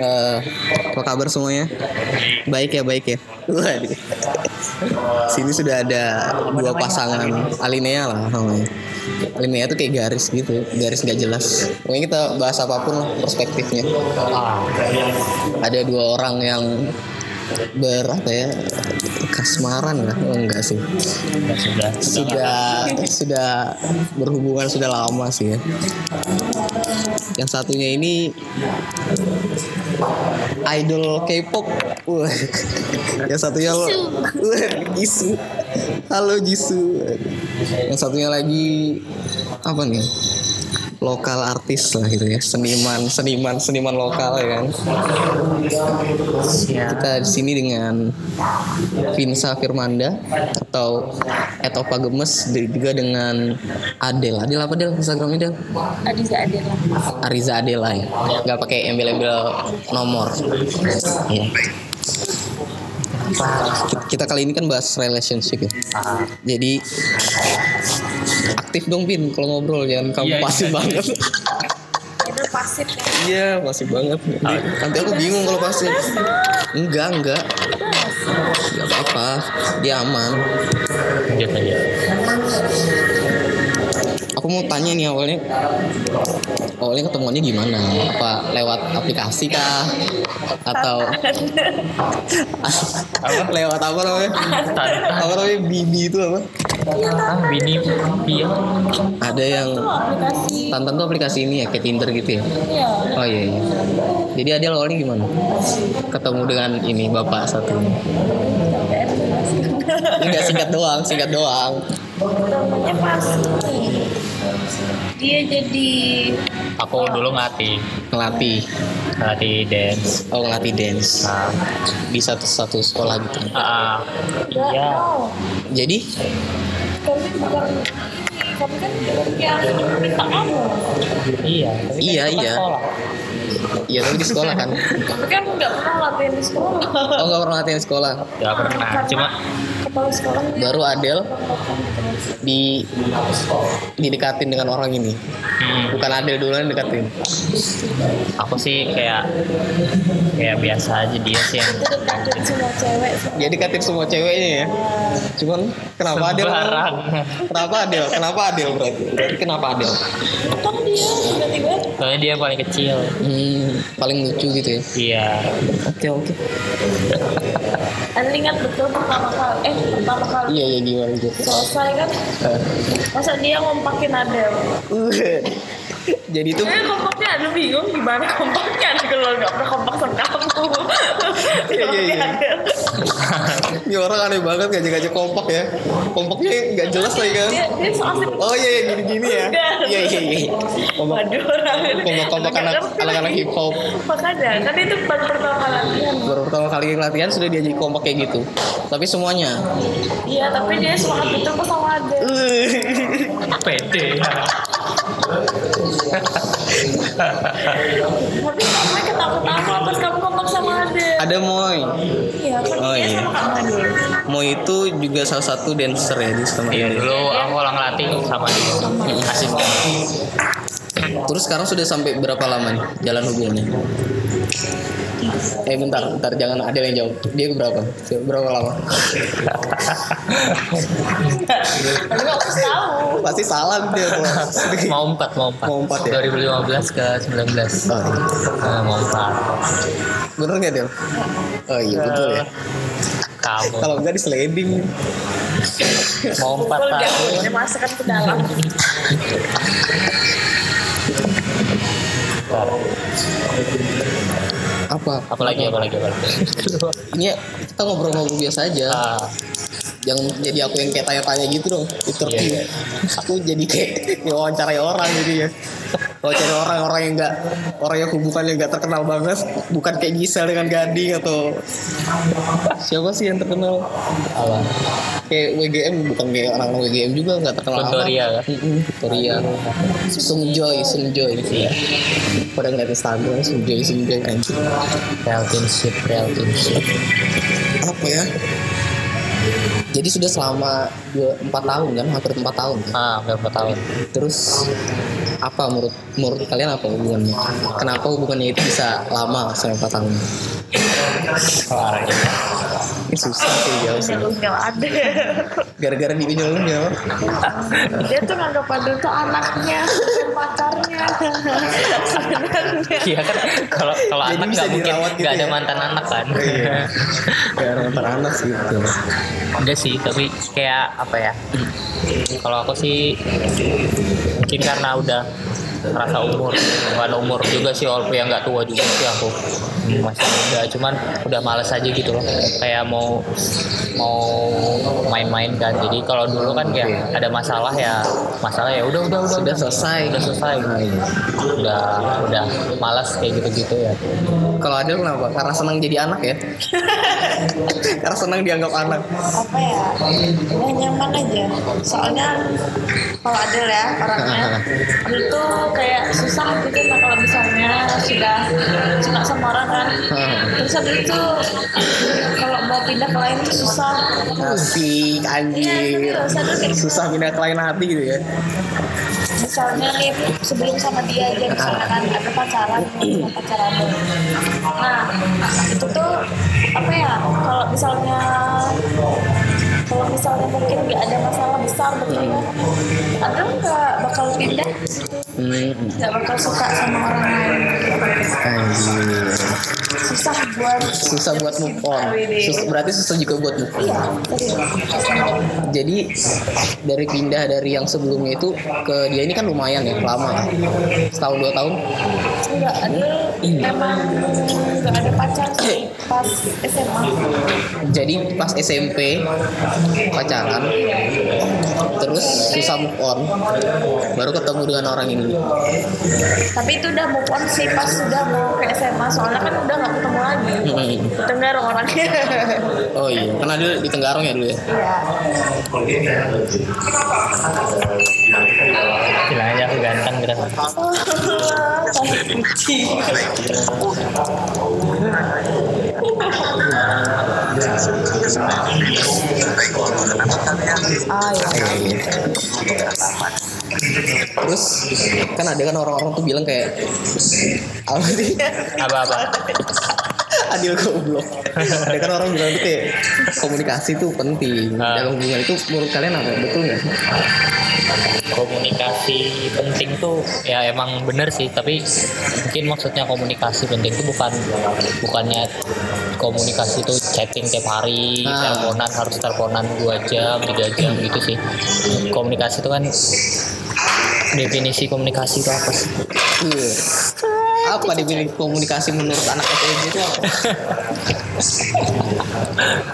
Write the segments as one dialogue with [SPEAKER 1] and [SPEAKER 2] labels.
[SPEAKER 1] Eh, kabar semuanya? Baik ya, baik ya. Waduh. Sini sudah ada dua pasangan alinea lah namanya. Alinea tuh kayak garis gitu, garis nggak jelas. Pokoknya kita bahas apapun lah perspektifnya. Ada dua orang yang ber apa ya kasmaran lah oh, enggak sih
[SPEAKER 2] sudah
[SPEAKER 1] sudah sudah berhubungan sudah lama sih ya. Yang satunya ini idol K-pop. Wah. Yang satunya lo Wah, Jisoo. Halo Jisoo. Yang satunya lagi apa nih? lokal artis lah gitu ya seniman seniman seniman lokal ya kan kita di sini dengan Vinsa Firmanda atau Etopa Gemes dan juga dengan Adel Adel apa Del Instagramnya Del
[SPEAKER 3] Adiza Adela
[SPEAKER 1] Ariza Adela ya nggak pakai embel-embel nomor Iya. Ki- kita kali ini kan bahas relationship ya jadi aktif dong Pin kalau ngobrol jangan kamu
[SPEAKER 2] Iya, iya.
[SPEAKER 1] pasif banget
[SPEAKER 3] itu pasif ya
[SPEAKER 1] iya pasif banget nanti aku bingung kalau pasif enggak enggak enggak apa-apa dia aman
[SPEAKER 2] lanjut aja
[SPEAKER 1] aku mau tanya nih awalnya awalnya ketemuannya gimana apa lewat aplikasi kah atau lewat apa namanya
[SPEAKER 2] Tantang.
[SPEAKER 1] apa namanya bibi itu apa
[SPEAKER 2] ah bini pia
[SPEAKER 1] ada yang
[SPEAKER 3] itu aplikasi
[SPEAKER 1] Tantan tuh aplikasi ini ya kayak Tinder gitu ya
[SPEAKER 3] ya
[SPEAKER 1] oh iya iya jadi ada awalnya gimana ketemu dengan ini bapak satu ini enggak singkat doang singkat doang
[SPEAKER 3] temennya pasti dia jadi
[SPEAKER 2] aku dulu ngelatih
[SPEAKER 1] ngelatih
[SPEAKER 2] ngelatih dance
[SPEAKER 1] oh ngelatih dance
[SPEAKER 2] ah
[SPEAKER 1] di satu satu sekolah gitu
[SPEAKER 2] ah, ah.
[SPEAKER 3] nggak
[SPEAKER 1] Ya.
[SPEAKER 2] iya
[SPEAKER 3] tahu
[SPEAKER 1] jadi
[SPEAKER 3] kami bukan ini kami kan yang minta kamu
[SPEAKER 2] iya
[SPEAKER 1] Iya,
[SPEAKER 2] Tapi kan itu kan
[SPEAKER 1] iya.
[SPEAKER 2] sekolah.
[SPEAKER 1] Iya tapi di sekolah kan.
[SPEAKER 3] tapi kan nggak pernah latihan di sekolah
[SPEAKER 1] Oh nggak pernah latihan sekolah.
[SPEAKER 2] nggak pernah cuma
[SPEAKER 3] kepala sekolah
[SPEAKER 1] Baru Adel di didekatin dengan orang ini.
[SPEAKER 2] hmm,
[SPEAKER 1] Bukan Adel duluan yang dekatin.
[SPEAKER 2] aku sih kayak kayak biasa aja dia sih yang
[SPEAKER 3] itu takut semua cewek
[SPEAKER 1] Dia dekatin semua ceweknya ya. Cuman kenapa Adel?
[SPEAKER 2] sembarang
[SPEAKER 1] Kenapa Adel? Kenapa Adel berarti? Berarti kenapa Adel?
[SPEAKER 3] kan dia tiba-tiba
[SPEAKER 2] soalnya dia paling kecil
[SPEAKER 1] Hmm, paling lucu gitu ya.
[SPEAKER 2] iya
[SPEAKER 1] Oke oke.
[SPEAKER 3] Ada kan ingat betul pertama kali eh pertama kali
[SPEAKER 1] Iya iya gimana gitu.
[SPEAKER 3] selesai kan
[SPEAKER 1] Eh.
[SPEAKER 3] masa dia ngompakin Adel
[SPEAKER 1] Jadi itu
[SPEAKER 3] Saya kompaknya ada bingung gimana kompaknya ada kalau nggak pernah kompak sama
[SPEAKER 1] Iya,
[SPEAKER 3] kamu.
[SPEAKER 1] iya, iya.
[SPEAKER 3] Kompaknya ada.
[SPEAKER 1] ini orang aneh banget ngajak-ngajak kompak ya. Kompaknya nggak jelas lagi kan.
[SPEAKER 3] Dia dia soal sih.
[SPEAKER 1] Oh iya iya gini-gini ya.
[SPEAKER 3] Udah.
[SPEAKER 1] Iya iya iya. Kompak
[SPEAKER 3] Waduh, orang
[SPEAKER 1] kompak-kompak
[SPEAKER 3] nggak
[SPEAKER 1] anak
[SPEAKER 3] ngerti
[SPEAKER 1] anak-anak
[SPEAKER 3] lagi.
[SPEAKER 1] hip hop
[SPEAKER 3] Makanya kan itu baru pertama kali latihan.
[SPEAKER 1] baru pertama kali latihan sudah diajak kompak kayak gitu tapi semuanya
[SPEAKER 3] Iya, tapi dia semangat betul kok sama Adel.
[SPEAKER 2] pede
[SPEAKER 3] Tapi kamu ketawa-ketawa pas kamu kompak sama Adel.
[SPEAKER 1] ada Moy
[SPEAKER 3] Iya, kan
[SPEAKER 1] Oh,
[SPEAKER 3] dia
[SPEAKER 1] iya.
[SPEAKER 3] sama kamu Adel.
[SPEAKER 1] Moy itu juga salah satu dancer ya di sama
[SPEAKER 2] iya dulu aku ulang latih sama dia kasih
[SPEAKER 1] terus sekarang sudah sampai berapa lama nih jalan hubungannya eh bentar bentar jangan ada yang jawab dia berapa berapa lama
[SPEAKER 3] Tapi nggak usah tahu.
[SPEAKER 1] pasti salah dia kalau
[SPEAKER 2] mau empat mau empat
[SPEAKER 1] Mau empat ya?
[SPEAKER 2] 2015 ke 19
[SPEAKER 1] Oh, iya.
[SPEAKER 2] Eh, mau empat
[SPEAKER 1] bener nggak dia oh iya betul
[SPEAKER 2] Eh.
[SPEAKER 1] ya
[SPEAKER 2] kamu
[SPEAKER 1] kalau enggak di sliding
[SPEAKER 2] mau empat
[SPEAKER 3] Pukul dia,
[SPEAKER 2] tahun
[SPEAKER 3] dia masukkan ke dalam.
[SPEAKER 1] apa
[SPEAKER 2] apalagi apalagi apalagi
[SPEAKER 1] ini kita ngobrol-ngobrol biasa aja
[SPEAKER 2] Ah,
[SPEAKER 1] jangan jadi aku yang kayak tanya-tanya gitu dong interview
[SPEAKER 2] Iya, iya.
[SPEAKER 1] aku jadi kayak wawancarai orang jadi ya wawancara orang-orang yang enggak orang yang hubungannya nggak terkenal banget bukan kayak Gisel dengan Gading atau siapa sih yang terkenal
[SPEAKER 2] apa
[SPEAKER 1] kayak WGM bukan kayak orang-orang WGM juga nggak terkenal
[SPEAKER 2] Victoria,
[SPEAKER 1] amat.
[SPEAKER 2] ya?
[SPEAKER 1] Mm-mm, Victoria Sungjoy Sungjoy iya pada ngeliat Instagram Sungjoy Sungjoy anjir
[SPEAKER 2] real kinship real kinship
[SPEAKER 1] apa ya jadi sudah selama dua- empat tahun kan hampir empat tahun kan?
[SPEAKER 2] ah berapa tahun
[SPEAKER 1] Terus apa menurut menurut kalian apa hubungannya? Kenapa hubungannya itu bisa lama sampai 4 tahun?
[SPEAKER 2] Kelar gitu.
[SPEAKER 1] Ini susah sih jauh sih.
[SPEAKER 3] Punya lu nggak ada.
[SPEAKER 1] Gara-gara ya, di pinjol lu nggak?
[SPEAKER 3] Dia tuh nganggap Adul tuh anaknya, bukan pacarnya. Sebenarnya.
[SPEAKER 2] Iya kan kalau kalau
[SPEAKER 1] Jadi
[SPEAKER 2] anak
[SPEAKER 1] bisa
[SPEAKER 2] nggak mungkin
[SPEAKER 1] dirawat
[SPEAKER 2] nggak
[SPEAKER 1] gitu
[SPEAKER 2] ada
[SPEAKER 1] ya?
[SPEAKER 2] mantan anak kan.
[SPEAKER 1] Iya. Gara-gara anak sih gitu.
[SPEAKER 2] Enggak sih, tapi kayak apa ya? Kalau aku sih mungkin karena udah rasa umur, bukan umur juga sih walaupun yang nggak tua juga sih aku masih muda, cuman udah males aja gitu loh. Kayak mau mau main-main kan. Jadi kalau dulu kan kayak ada masalah ya, masalah ya udah udah udah
[SPEAKER 1] Sudah selesai.
[SPEAKER 2] udah selesai udah udah malas kayak gitu-gitu ya
[SPEAKER 1] Kalau ada kenapa? Karena senang jadi anak ya. Karena senang dianggap anak.
[SPEAKER 3] apa ya ya nyaman aja soalnya kalau Adul ya orangnya Adul tuh kayak susah gitu nah kalau misalnya sudah suka sama orang kan
[SPEAKER 1] Hmm.
[SPEAKER 3] terus Adul tuh kalau mau pindah ke lain tuh susah
[SPEAKER 1] Asik anjir.
[SPEAKER 3] Iya, serius.
[SPEAKER 1] Susah pindah ke lain hati gitu ya.
[SPEAKER 3] misalnya nih sebelum sama dia aja misalnya kan ada pacaran sama pacaran nah itu tuh apa ya kalau misalnya kalau misalnya mungkin nggak ada masalah besar gitu ya ada nggak bakal pindah gitu,
[SPEAKER 1] Hmm,
[SPEAKER 3] nggak bakal suka sama orang lain
[SPEAKER 1] anjir.
[SPEAKER 3] susah buat
[SPEAKER 1] Susah buat move on. Susah, berarti susah juga buat move on.
[SPEAKER 3] iya serius.
[SPEAKER 1] Jadi dari pindah dari yang sebelumnya itu ke dia ini kan lumayan ya lama kan. Setahun dua tahun.
[SPEAKER 3] Enggak, ada memang nggak ada pacar sih pas SMA
[SPEAKER 1] Jadi pas SMP pacaran terus susah move on baru ketemu dengan orang ini
[SPEAKER 3] tapi itu udah move on sih pas sudah mau ke SMA soalnya kan udah nggak ketemu lagi
[SPEAKER 1] Hmm.
[SPEAKER 3] dengar orangnya
[SPEAKER 1] oh iya karena dia di Tenggarong ya dulu ya
[SPEAKER 3] iya
[SPEAKER 2] bilangnya aku ganteng gitu
[SPEAKER 3] Kasih kucing. ah ya
[SPEAKER 1] terus kan ada kan orang-orang tuh bilang kayak apa sih
[SPEAKER 2] apa-apa
[SPEAKER 1] adil goblok ada kan orang bilang tuh kayak komunikasi tuh penting
[SPEAKER 2] Ah.
[SPEAKER 1] dalam hubungan itu menurut kalian apa betul nggak
[SPEAKER 2] komunikasi penting tuh ya emang bener sih tapi mungkin maksudnya komunikasi penting tuh bukan bukannya komunikasi tuh chatting tiap hari
[SPEAKER 1] Ah.
[SPEAKER 2] teleponan harus teleponan dua jam tiga jam gitu sih komunikasi itu kan definisi komunikasi itu apa sih
[SPEAKER 1] Iya. apa definisi komunikasi menurut anak SMP itu apa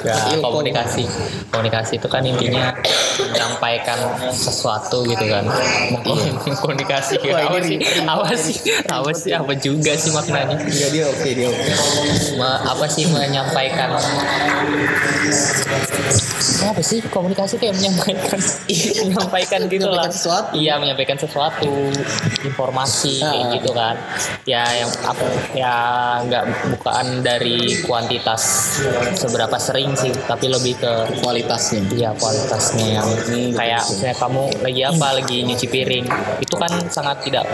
[SPEAKER 2] Ya,
[SPEAKER 1] Ilkom.
[SPEAKER 2] komunikasi. Komunikasi itu kan intinya menyampaikan sesuatu gitu kan. Komunikasi
[SPEAKER 1] Iya. Wah,
[SPEAKER 2] apa
[SPEAKER 1] ini
[SPEAKER 2] sih?
[SPEAKER 1] ribet.
[SPEAKER 2] Apa sih? Apa sih? Apa juga sih maknanya?
[SPEAKER 1] Enggak Iya, dia oke dia oke
[SPEAKER 2] Me- apa sih menyampaikan? Apa sih komunikasi kayak menyampaikan? menyampaikan gitu lah.
[SPEAKER 1] Menyampaikan sesuatu.
[SPEAKER 2] Iya, menyampaikan sesuatu, informasi kayak
[SPEAKER 1] Ah.
[SPEAKER 2] gitu kan. Ya yang apa ya nggak bukan dari kuantitas seberapa sering sih, tapi lebih ke
[SPEAKER 1] kualitasnya
[SPEAKER 2] Iya kualitasnya yang
[SPEAKER 1] Hmm,
[SPEAKER 2] kayak
[SPEAKER 1] betul sih.
[SPEAKER 2] misalnya kamu lagi apa lagi nyuci piring itu kan sangat tidak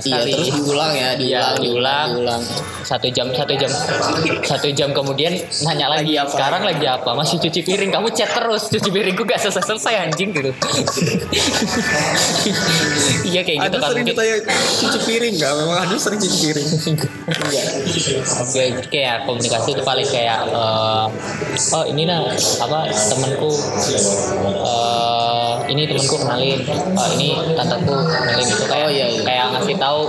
[SPEAKER 1] iya
[SPEAKER 2] sekali.
[SPEAKER 1] terus diulang ya
[SPEAKER 2] Iya,
[SPEAKER 1] diulang
[SPEAKER 2] diulang.
[SPEAKER 1] diulang
[SPEAKER 2] Satu jam satu jam satu jam kemudian nanya
[SPEAKER 1] Lagi
[SPEAKER 2] lagi,
[SPEAKER 1] apa?
[SPEAKER 2] sekarang lagi apa masih cuci piring kamu chat terus cuci piringku gak selesai selesai anjing gitu. iya kayak gitu
[SPEAKER 1] Aduh
[SPEAKER 2] kan
[SPEAKER 1] sering
[SPEAKER 2] mungkin-
[SPEAKER 1] ditanya cuci piring nggak? Memang Aduh sering cuci piring. Enggak.
[SPEAKER 2] Kayak- kayak komunikasi itu paling kayak eh, oh ini nah apa temanku eh, ini temanku kenalin oh, ini tanteku kenalin itu kayak
[SPEAKER 1] Oh, iya, iya.
[SPEAKER 2] kayak ngasih tahu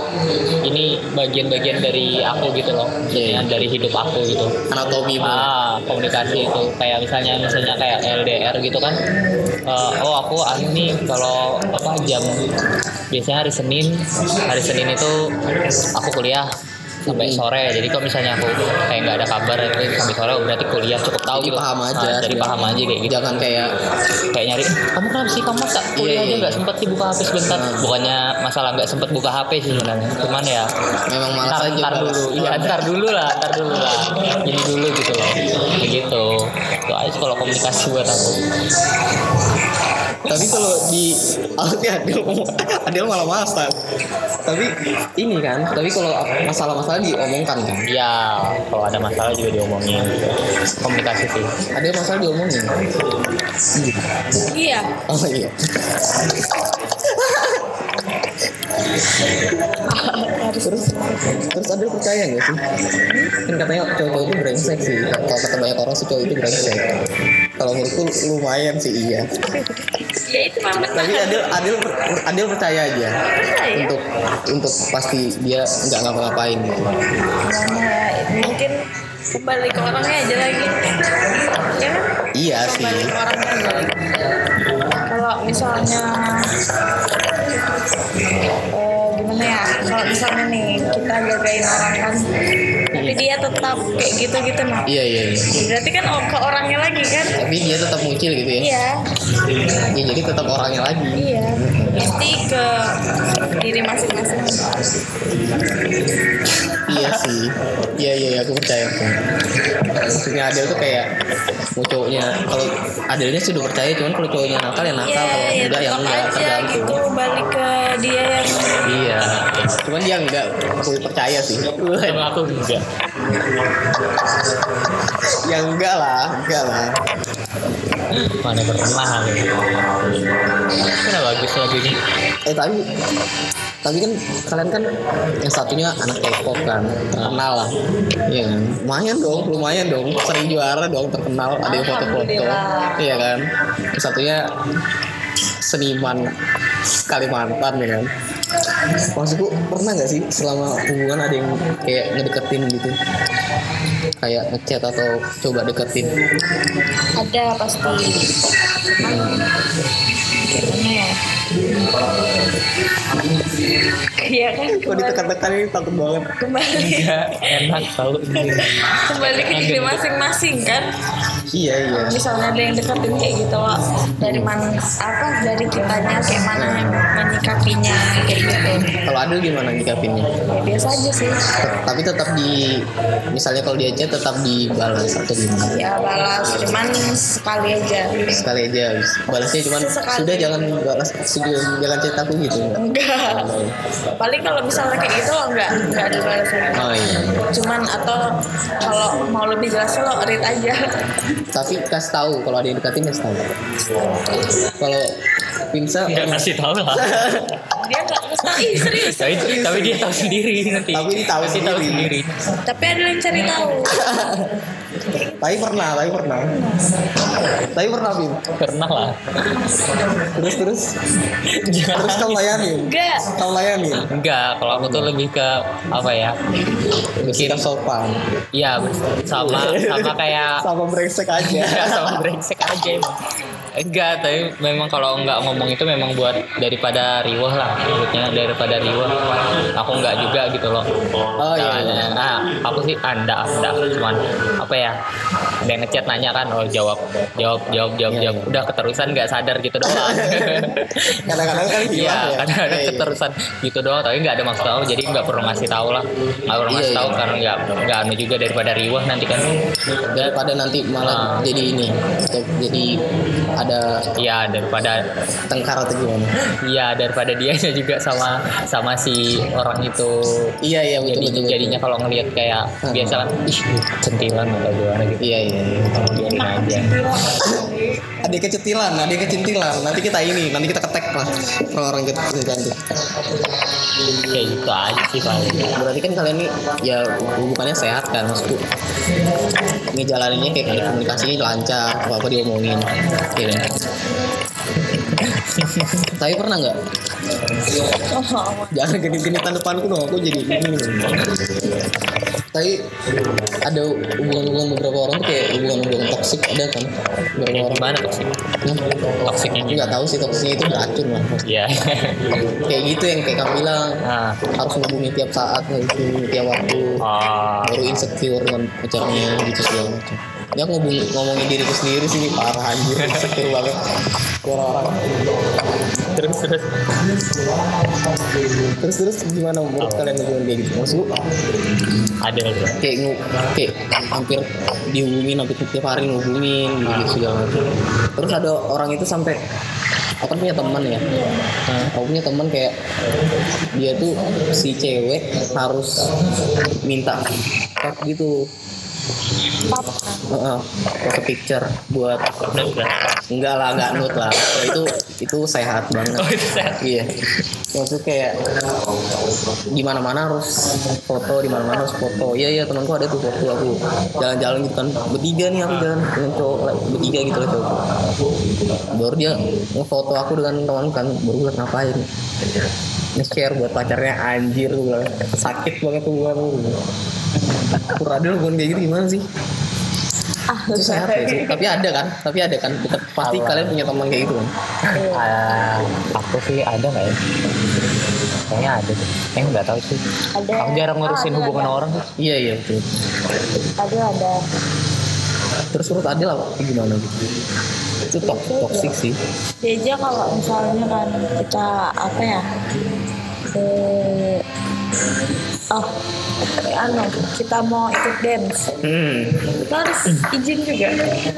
[SPEAKER 2] ini bagian-bagian dari aku gitu loh
[SPEAKER 1] Iya.
[SPEAKER 2] Bagian dari hidup aku gitu
[SPEAKER 1] Anatomi Bu.
[SPEAKER 2] Ah, komunikasi itu kayak misalnya misalnya kayak LDR gitu kan. Eh, oh aku anu nih kalau apa jam biasanya hari Senin hari Senin itu aku kuliah sampai sore jadi kalau misalnya aku kayak nggak ada kabar itu sampai sore oh, berarti kuliah cukup tahu
[SPEAKER 1] Jadi
[SPEAKER 2] gitu
[SPEAKER 1] paham
[SPEAKER 2] Ah,
[SPEAKER 1] aja.
[SPEAKER 2] jadi paham aja kayak gitu
[SPEAKER 1] Jangan kayak
[SPEAKER 2] kayak nyari kamu kenapa sih kamu tak kuliah
[SPEAKER 1] Iya,
[SPEAKER 2] aja
[SPEAKER 1] iya.
[SPEAKER 2] nggak sempet sih buka HP sebentar
[SPEAKER 1] Hmm.
[SPEAKER 2] bukannya masalah nggak sempet buka HP sih sebenarnya cuman ya
[SPEAKER 1] memang malas
[SPEAKER 2] ntar,
[SPEAKER 1] aja.
[SPEAKER 2] ntar
[SPEAKER 1] Pak.
[SPEAKER 2] dulu iya ntar dulu lah ntar dulu lah ini dulu gitu loh kayak gitu itu aja sih kalau komunikasi buat aku
[SPEAKER 1] tapi kalau di harusnya Adil Adil malah masak tapi ini kan tapi kalau masalah-masalah diomongkan kan
[SPEAKER 2] ya kalau ada masalah juga diomongin gitu. komunikasi sih
[SPEAKER 1] ada masalah diomongin
[SPEAKER 3] Iya.
[SPEAKER 1] oh iya terus terus Adil percaya nggak sih kan katanya cowok itu brengsek sih kalau kata banyak orang sih cowok itu brengsek kalau menurutku lumayan sih iya
[SPEAKER 3] Ya itu memang
[SPEAKER 1] tapi Adil Adil Adil percaya aja
[SPEAKER 3] Percaya.
[SPEAKER 1] untuk untuk pasti dia nggak ngapa-ngapain gitu.
[SPEAKER 3] Nah, mungkin kembali ke orangnya aja lagi. Ya kan?
[SPEAKER 1] Iya sih.
[SPEAKER 3] Kembali ke orangnya aja lagi. Kalau misalnya eh, gimana ya kalau misalnya nih kita jagain orang kan tapi dia tetap kayak gitu gitu nah
[SPEAKER 1] Iya iya. iya.
[SPEAKER 3] berarti kan o- ke orangnya lagi kan
[SPEAKER 1] Tapi dia tetap muncul gitu ya.
[SPEAKER 3] iya
[SPEAKER 1] Ya, jadi tetap orangnya lagi.
[SPEAKER 3] Iya, mesti ke diri masing-masing.
[SPEAKER 1] Iya sih. Iya iya iya, aku percaya. Aku. Maksudnya Adil tuh kayak mau cowoknya kalau Adilnya sih udah percaya cuman kalau cowoknya nakal ya nakal
[SPEAKER 3] Iya,
[SPEAKER 1] kalau enggak
[SPEAKER 3] ya
[SPEAKER 1] ya
[SPEAKER 3] tetap
[SPEAKER 1] enggak
[SPEAKER 3] aja gitu
[SPEAKER 1] tergantung.
[SPEAKER 3] balik ke dia yang
[SPEAKER 1] Iya. Cuman dia enggak aku percaya sih.
[SPEAKER 2] sama aku juga
[SPEAKER 1] ya enggak lah, enggak lah.
[SPEAKER 2] mana pernah gitu Mana bagus lagi ini
[SPEAKER 1] Eh tapi tapi kan kalian kan yang satunya anak K-pop kan terkenal lah, iya kan? Lumayan dong, lumayan dong, sering juara dong terkenal, ada yang foto-foto,
[SPEAKER 3] Alhamdulillah.
[SPEAKER 1] iya kan? Yang satunya seniman Kalimantan ya kan? Maksudku pernah nggak sih selama hubungan ada yang kayak ngedeketin gitu? kayak ngechat atau coba deketin
[SPEAKER 3] ada pasti. Gimana ya? Iya kan
[SPEAKER 1] Kok
[SPEAKER 3] kembali,
[SPEAKER 1] ditekan-tekan Oh, ini takut banget
[SPEAKER 3] kembali,
[SPEAKER 2] enak selalu
[SPEAKER 3] kembali ke diri masing-masing kan.
[SPEAKER 1] Iya iya
[SPEAKER 3] Misalnya ada yang deketin kayak gitu Wak. dari mana apa dari kitanya kayak mana yang menyikapinya kayak gitu.
[SPEAKER 1] Kalau Adil gimana nyikapinnya?
[SPEAKER 3] Ya, biasa aja sih
[SPEAKER 1] tapi tetap di misalnya kalau dia chat tetap dibalas atau gimana
[SPEAKER 3] ya balas cuman sekali aja
[SPEAKER 1] sekali aja habis. balasnya cuman
[SPEAKER 3] Sesekali.
[SPEAKER 1] sudah jangan balas sudah jangan chat aku gitu
[SPEAKER 3] enggak paling kalau misalnya kayak gitu enggak enggak dibalas lagi.
[SPEAKER 1] oh iya
[SPEAKER 3] cuman atau kalau mau lebih jelas lo read aja
[SPEAKER 1] tapi kasih tahu kalau ada yang deketin kasih tahu kalau Pinsa
[SPEAKER 2] nggak kasih tahu lah
[SPEAKER 3] dia enggak ih serius
[SPEAKER 2] tapi, tapi dia tahu sendiri nanti
[SPEAKER 1] Tapi dia tahu
[SPEAKER 2] Nanti tahu
[SPEAKER 1] sendiri.
[SPEAKER 2] sendiri
[SPEAKER 3] tapi ada yang cari tahu
[SPEAKER 1] tapi pernah tapi pernah tapi pernah Pin
[SPEAKER 2] pernah lah
[SPEAKER 1] terus terus
[SPEAKER 2] Jangan
[SPEAKER 1] terus kau layanin
[SPEAKER 3] enggak
[SPEAKER 1] kau layanin
[SPEAKER 2] enggak kalau aku tuh lebih ke apa ya
[SPEAKER 1] sikap sopan
[SPEAKER 2] Iya, sama sama kayak
[SPEAKER 1] sama brengsek aja
[SPEAKER 2] Enggak sama brengsek aja emang. Enggak, tapi memang kalau nggak ngomong itu memang buat daripada riwah lah, maksudnya daripada riwah. Aku nggak juga gitu loh.
[SPEAKER 1] Oh, iya, iya.
[SPEAKER 2] Nah, nah, aku sih anda, anda cuman apa ya? Ada yang ngechat nanya kan, oh jawab, jawab, jawab, jawab,
[SPEAKER 1] Iya,
[SPEAKER 2] jawab.
[SPEAKER 1] iya.
[SPEAKER 2] Udah keterusan nggak sadar gitu doang.
[SPEAKER 1] kadang-kadang kan hilang
[SPEAKER 2] Iya,
[SPEAKER 1] ya
[SPEAKER 2] karena ada
[SPEAKER 1] Iya, iya.
[SPEAKER 2] keterusan gitu doang, tapi nggak ada maksud tahu, jadi nggak perlu ngasih tahu lah, nggak perlu
[SPEAKER 1] Iya,
[SPEAKER 2] ngasih tahu
[SPEAKER 1] iya.
[SPEAKER 2] karena nggak nggak anu juga daripada riwah nanti kan.
[SPEAKER 1] daripada nanti malah
[SPEAKER 2] Ah.
[SPEAKER 1] jadi ini jadi ada
[SPEAKER 2] Iya daripada
[SPEAKER 1] tengkar atau gimana
[SPEAKER 2] Iya daripada dianya juga sama sama si orang itu
[SPEAKER 1] iya iya betul
[SPEAKER 2] jadi
[SPEAKER 1] betul betul.
[SPEAKER 2] jadinya kalau ngelihat kayak
[SPEAKER 1] Hmm.
[SPEAKER 2] biasa kan ih sentilan atau gimana gitu
[SPEAKER 1] iya iya iya.
[SPEAKER 2] biarin
[SPEAKER 3] Ah,
[SPEAKER 2] aja
[SPEAKER 1] ada kecentilan ada kecentilan nanti kita ini nanti kita ketek lah gitu, orang-orang kecentilan tuh
[SPEAKER 2] kayak gitu aja sih paling
[SPEAKER 1] berarti kan kalian ini ya hubungannya sehat kan maksudku ngejalaninnya kayak kayak komunikasinya lancar apa apa diomongin gitu tapi pernah nggak
[SPEAKER 3] oh,
[SPEAKER 1] jangan genit-genitan depanku dong aku jadi ini tapi ada hubungan-hubungan beberapa orang tuh kayak hubungan-hubungan toksik ada kan beberapa
[SPEAKER 2] Kayak
[SPEAKER 1] orang
[SPEAKER 2] gimana toksik
[SPEAKER 1] hmm?
[SPEAKER 2] toksiknya
[SPEAKER 1] Aku
[SPEAKER 2] gitu
[SPEAKER 1] nggak tahu sih toksiknya itu beracun lah
[SPEAKER 2] ya
[SPEAKER 1] kayak gitu yang kayak kamu bilang
[SPEAKER 2] nah
[SPEAKER 1] harus menghubungi tiap saat harus menghubungi tiap waktu
[SPEAKER 2] oh,
[SPEAKER 1] baru insecure dengan pacarnya gitu segala macam ya aku ngomong, ngomongin diriku sendiri sih parah anjir insecure banget orang-orang
[SPEAKER 2] terus terus
[SPEAKER 1] terus terus gimana menurut kalian hubungan kayak gitu maksudku
[SPEAKER 2] ada gitu
[SPEAKER 1] kayak ngu- kayak hampir dihubungin hampir tiap hari ngehubungin gitu segala macam terus ada orang itu sampai aku kan punya teman ya nah, aku punya teman kayak dia tuh si cewek harus minta tag gitu Heeh, pose picture buat enggak lah enggak nude lah Kalau itu itu sehat banget
[SPEAKER 2] Oh, itu sehat.
[SPEAKER 1] iya maksud kayak di mana mana harus foto di mana mana harus foto iya iya temanku ada tuh foto aku jalan-jalan gitu kan bertiga nih aku jalan dengan cowok lah, bertiga gitu lah cowok baru dia ngefoto aku dengan teman kan baru gue ngapain nge-share buat pacarnya anjir gue bilang sakit banget tuh gue Kurada lu kayak gitu gimana sih?
[SPEAKER 3] ah
[SPEAKER 1] itu sehat ya sih tapi ada kan tapi ada kan Tetap- pasti
[SPEAKER 2] Allah.
[SPEAKER 1] kalian punya teman kayak gitu kan
[SPEAKER 2] Ah, aku sih ada nggak ya? Kayaknya ada deh. Eh nggak tahu sih.
[SPEAKER 3] Ada.
[SPEAKER 2] Aku jarang ngurusin
[SPEAKER 3] Ah, ada,
[SPEAKER 2] hubungan
[SPEAKER 3] ada.
[SPEAKER 2] orang.
[SPEAKER 1] iya iya betul
[SPEAKER 3] ada ada
[SPEAKER 1] terus urut adil apa gimana gitu itu to toxic sih
[SPEAKER 3] Deja kalau misalnya kan kita apa ya eh oh anu kita mau ikut dance
[SPEAKER 1] hmm.
[SPEAKER 3] kita harus izin juga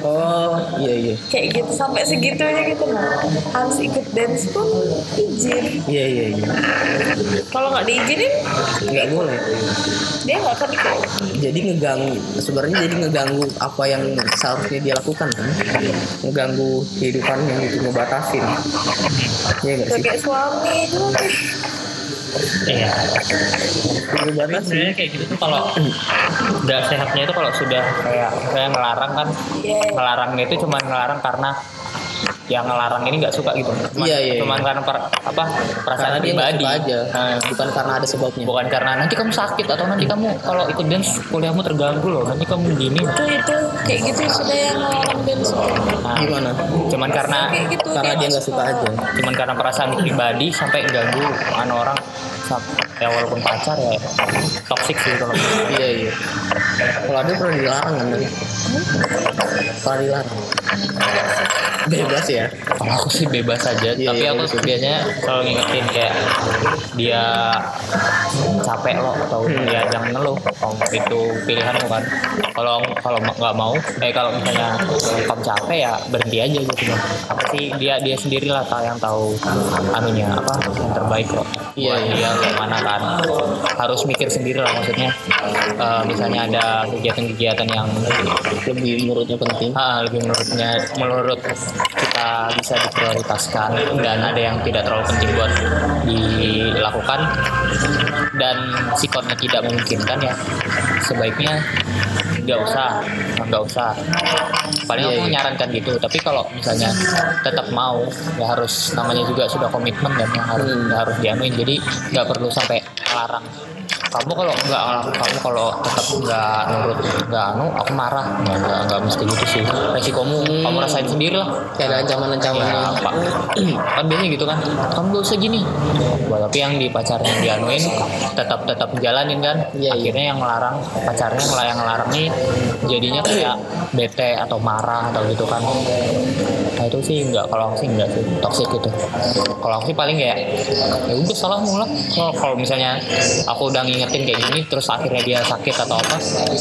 [SPEAKER 1] oh iya iya
[SPEAKER 3] kayak gitu sampai segitunya gitu loh harus ikut dance pun izin
[SPEAKER 1] iya iya iya
[SPEAKER 3] kalau nggak diizinin
[SPEAKER 1] nggak boleh
[SPEAKER 3] dia nggak akan ikut
[SPEAKER 1] jadi ngeganggu sebenarnya jadi ngeganggu apa yang seharusnya dia lakukan kan ngeganggu kehidupannya gitu ngebatasin iya nggak sih
[SPEAKER 3] sebagai suami itu
[SPEAKER 2] Iya.
[SPEAKER 1] ngebatasin
[SPEAKER 2] Sebenarnya kayak gitu tuh kalau nggak sehatnya itu kalau sudah kayak kayak ngelarang kan.
[SPEAKER 3] Iya.
[SPEAKER 2] Ngelarangnya itu cuma ngelarang karena yang ngelarang ini nggak suka gitu. Cuman,
[SPEAKER 1] Iya, iya,
[SPEAKER 2] Cuman karena per- apa perasaan
[SPEAKER 1] karena dia nggak
[SPEAKER 2] pribadi.
[SPEAKER 1] suka aja
[SPEAKER 2] Ah.
[SPEAKER 1] bukan karena ada sebabnya
[SPEAKER 2] bukan karena nanti kamu sakit atau nanti kamu kalau ikut dance kuliahmu terganggu loh nanti kamu gini
[SPEAKER 3] itu itu kayak gitu sudah yang orang dance
[SPEAKER 2] Nah,
[SPEAKER 1] gimana
[SPEAKER 2] cuman karena
[SPEAKER 3] kayak gitu
[SPEAKER 1] karena dia nggak suka aja
[SPEAKER 2] cuman karena perasaan pribadi sampai ganggu an orang sam- ya walaupun pacar ya toxic sih kalau gitu.
[SPEAKER 1] Iya iya. Kalau ada pernah dilarang kan? Nani? Pernah dilarang. Bebas ya.
[SPEAKER 2] kalau aku sih bebas aja
[SPEAKER 1] Iya,
[SPEAKER 2] tapi
[SPEAKER 1] iya,
[SPEAKER 2] aku
[SPEAKER 1] bebas.
[SPEAKER 2] biasanya kalau ngingetin kayak dia capek lo atau
[SPEAKER 1] Hmm.
[SPEAKER 2] dia jangan ngeluh Om, itu pilihanmu kan kalau kalau nggak mau eh kalau misalnya kamu capek ya berhenti aja gitu Bang. apa sih dia dia sendirilah tau- yang tahu anunya apa yang terbaik kok
[SPEAKER 1] Iya,
[SPEAKER 2] buat
[SPEAKER 1] iya.
[SPEAKER 2] dia gimana kan harus mikir sendiri lah maksudnya Eh, misalnya ada kegiatan-kegiatan yang
[SPEAKER 1] Lebih menurutnya penting.
[SPEAKER 2] Ah, lebih menurutnya menurut kita bisa diprioritaskan dan ada yang tidak terlalu penting buat dilakukan dan sifatnya tidak memungkinkan ya sebaiknya nggak usah nggak usah paling
[SPEAKER 1] Iya,
[SPEAKER 2] aku
[SPEAKER 1] iya.
[SPEAKER 2] menyarankan gitu tapi kalau misalnya tetap mau ya harus namanya juga sudah komitmen dan yang harus
[SPEAKER 1] Hmm.
[SPEAKER 2] harus dianuin jadi nggak perlu sampai larang kamu kalau nggak kamu kalau tetap nggak nurut nggak anu aku marah nggak nggak- nggak mesti gitu sih resikomu kamu rasain sendiri lah
[SPEAKER 1] Kayak ada ancaman-ancamannya.
[SPEAKER 2] Ya, Pak. kan biasanya gitu kan kamu gak usah gini Wah, tapi yang di pacarnya dianuin tetap tetap jalanin kan
[SPEAKER 1] Iya, iya.
[SPEAKER 2] akhirnya yang ngelarang pacarnya malah yang ngelarang nih jadinya kayak bete atau marah atau gitu kan nah itu sih enggak kalau aku sih enggak sih toxic gitu kalau aku sih paling kayak ya udah salah mulai kalau, kalau misalnya aku udah ngingetin kayak gini terus akhirnya dia sakit atau apa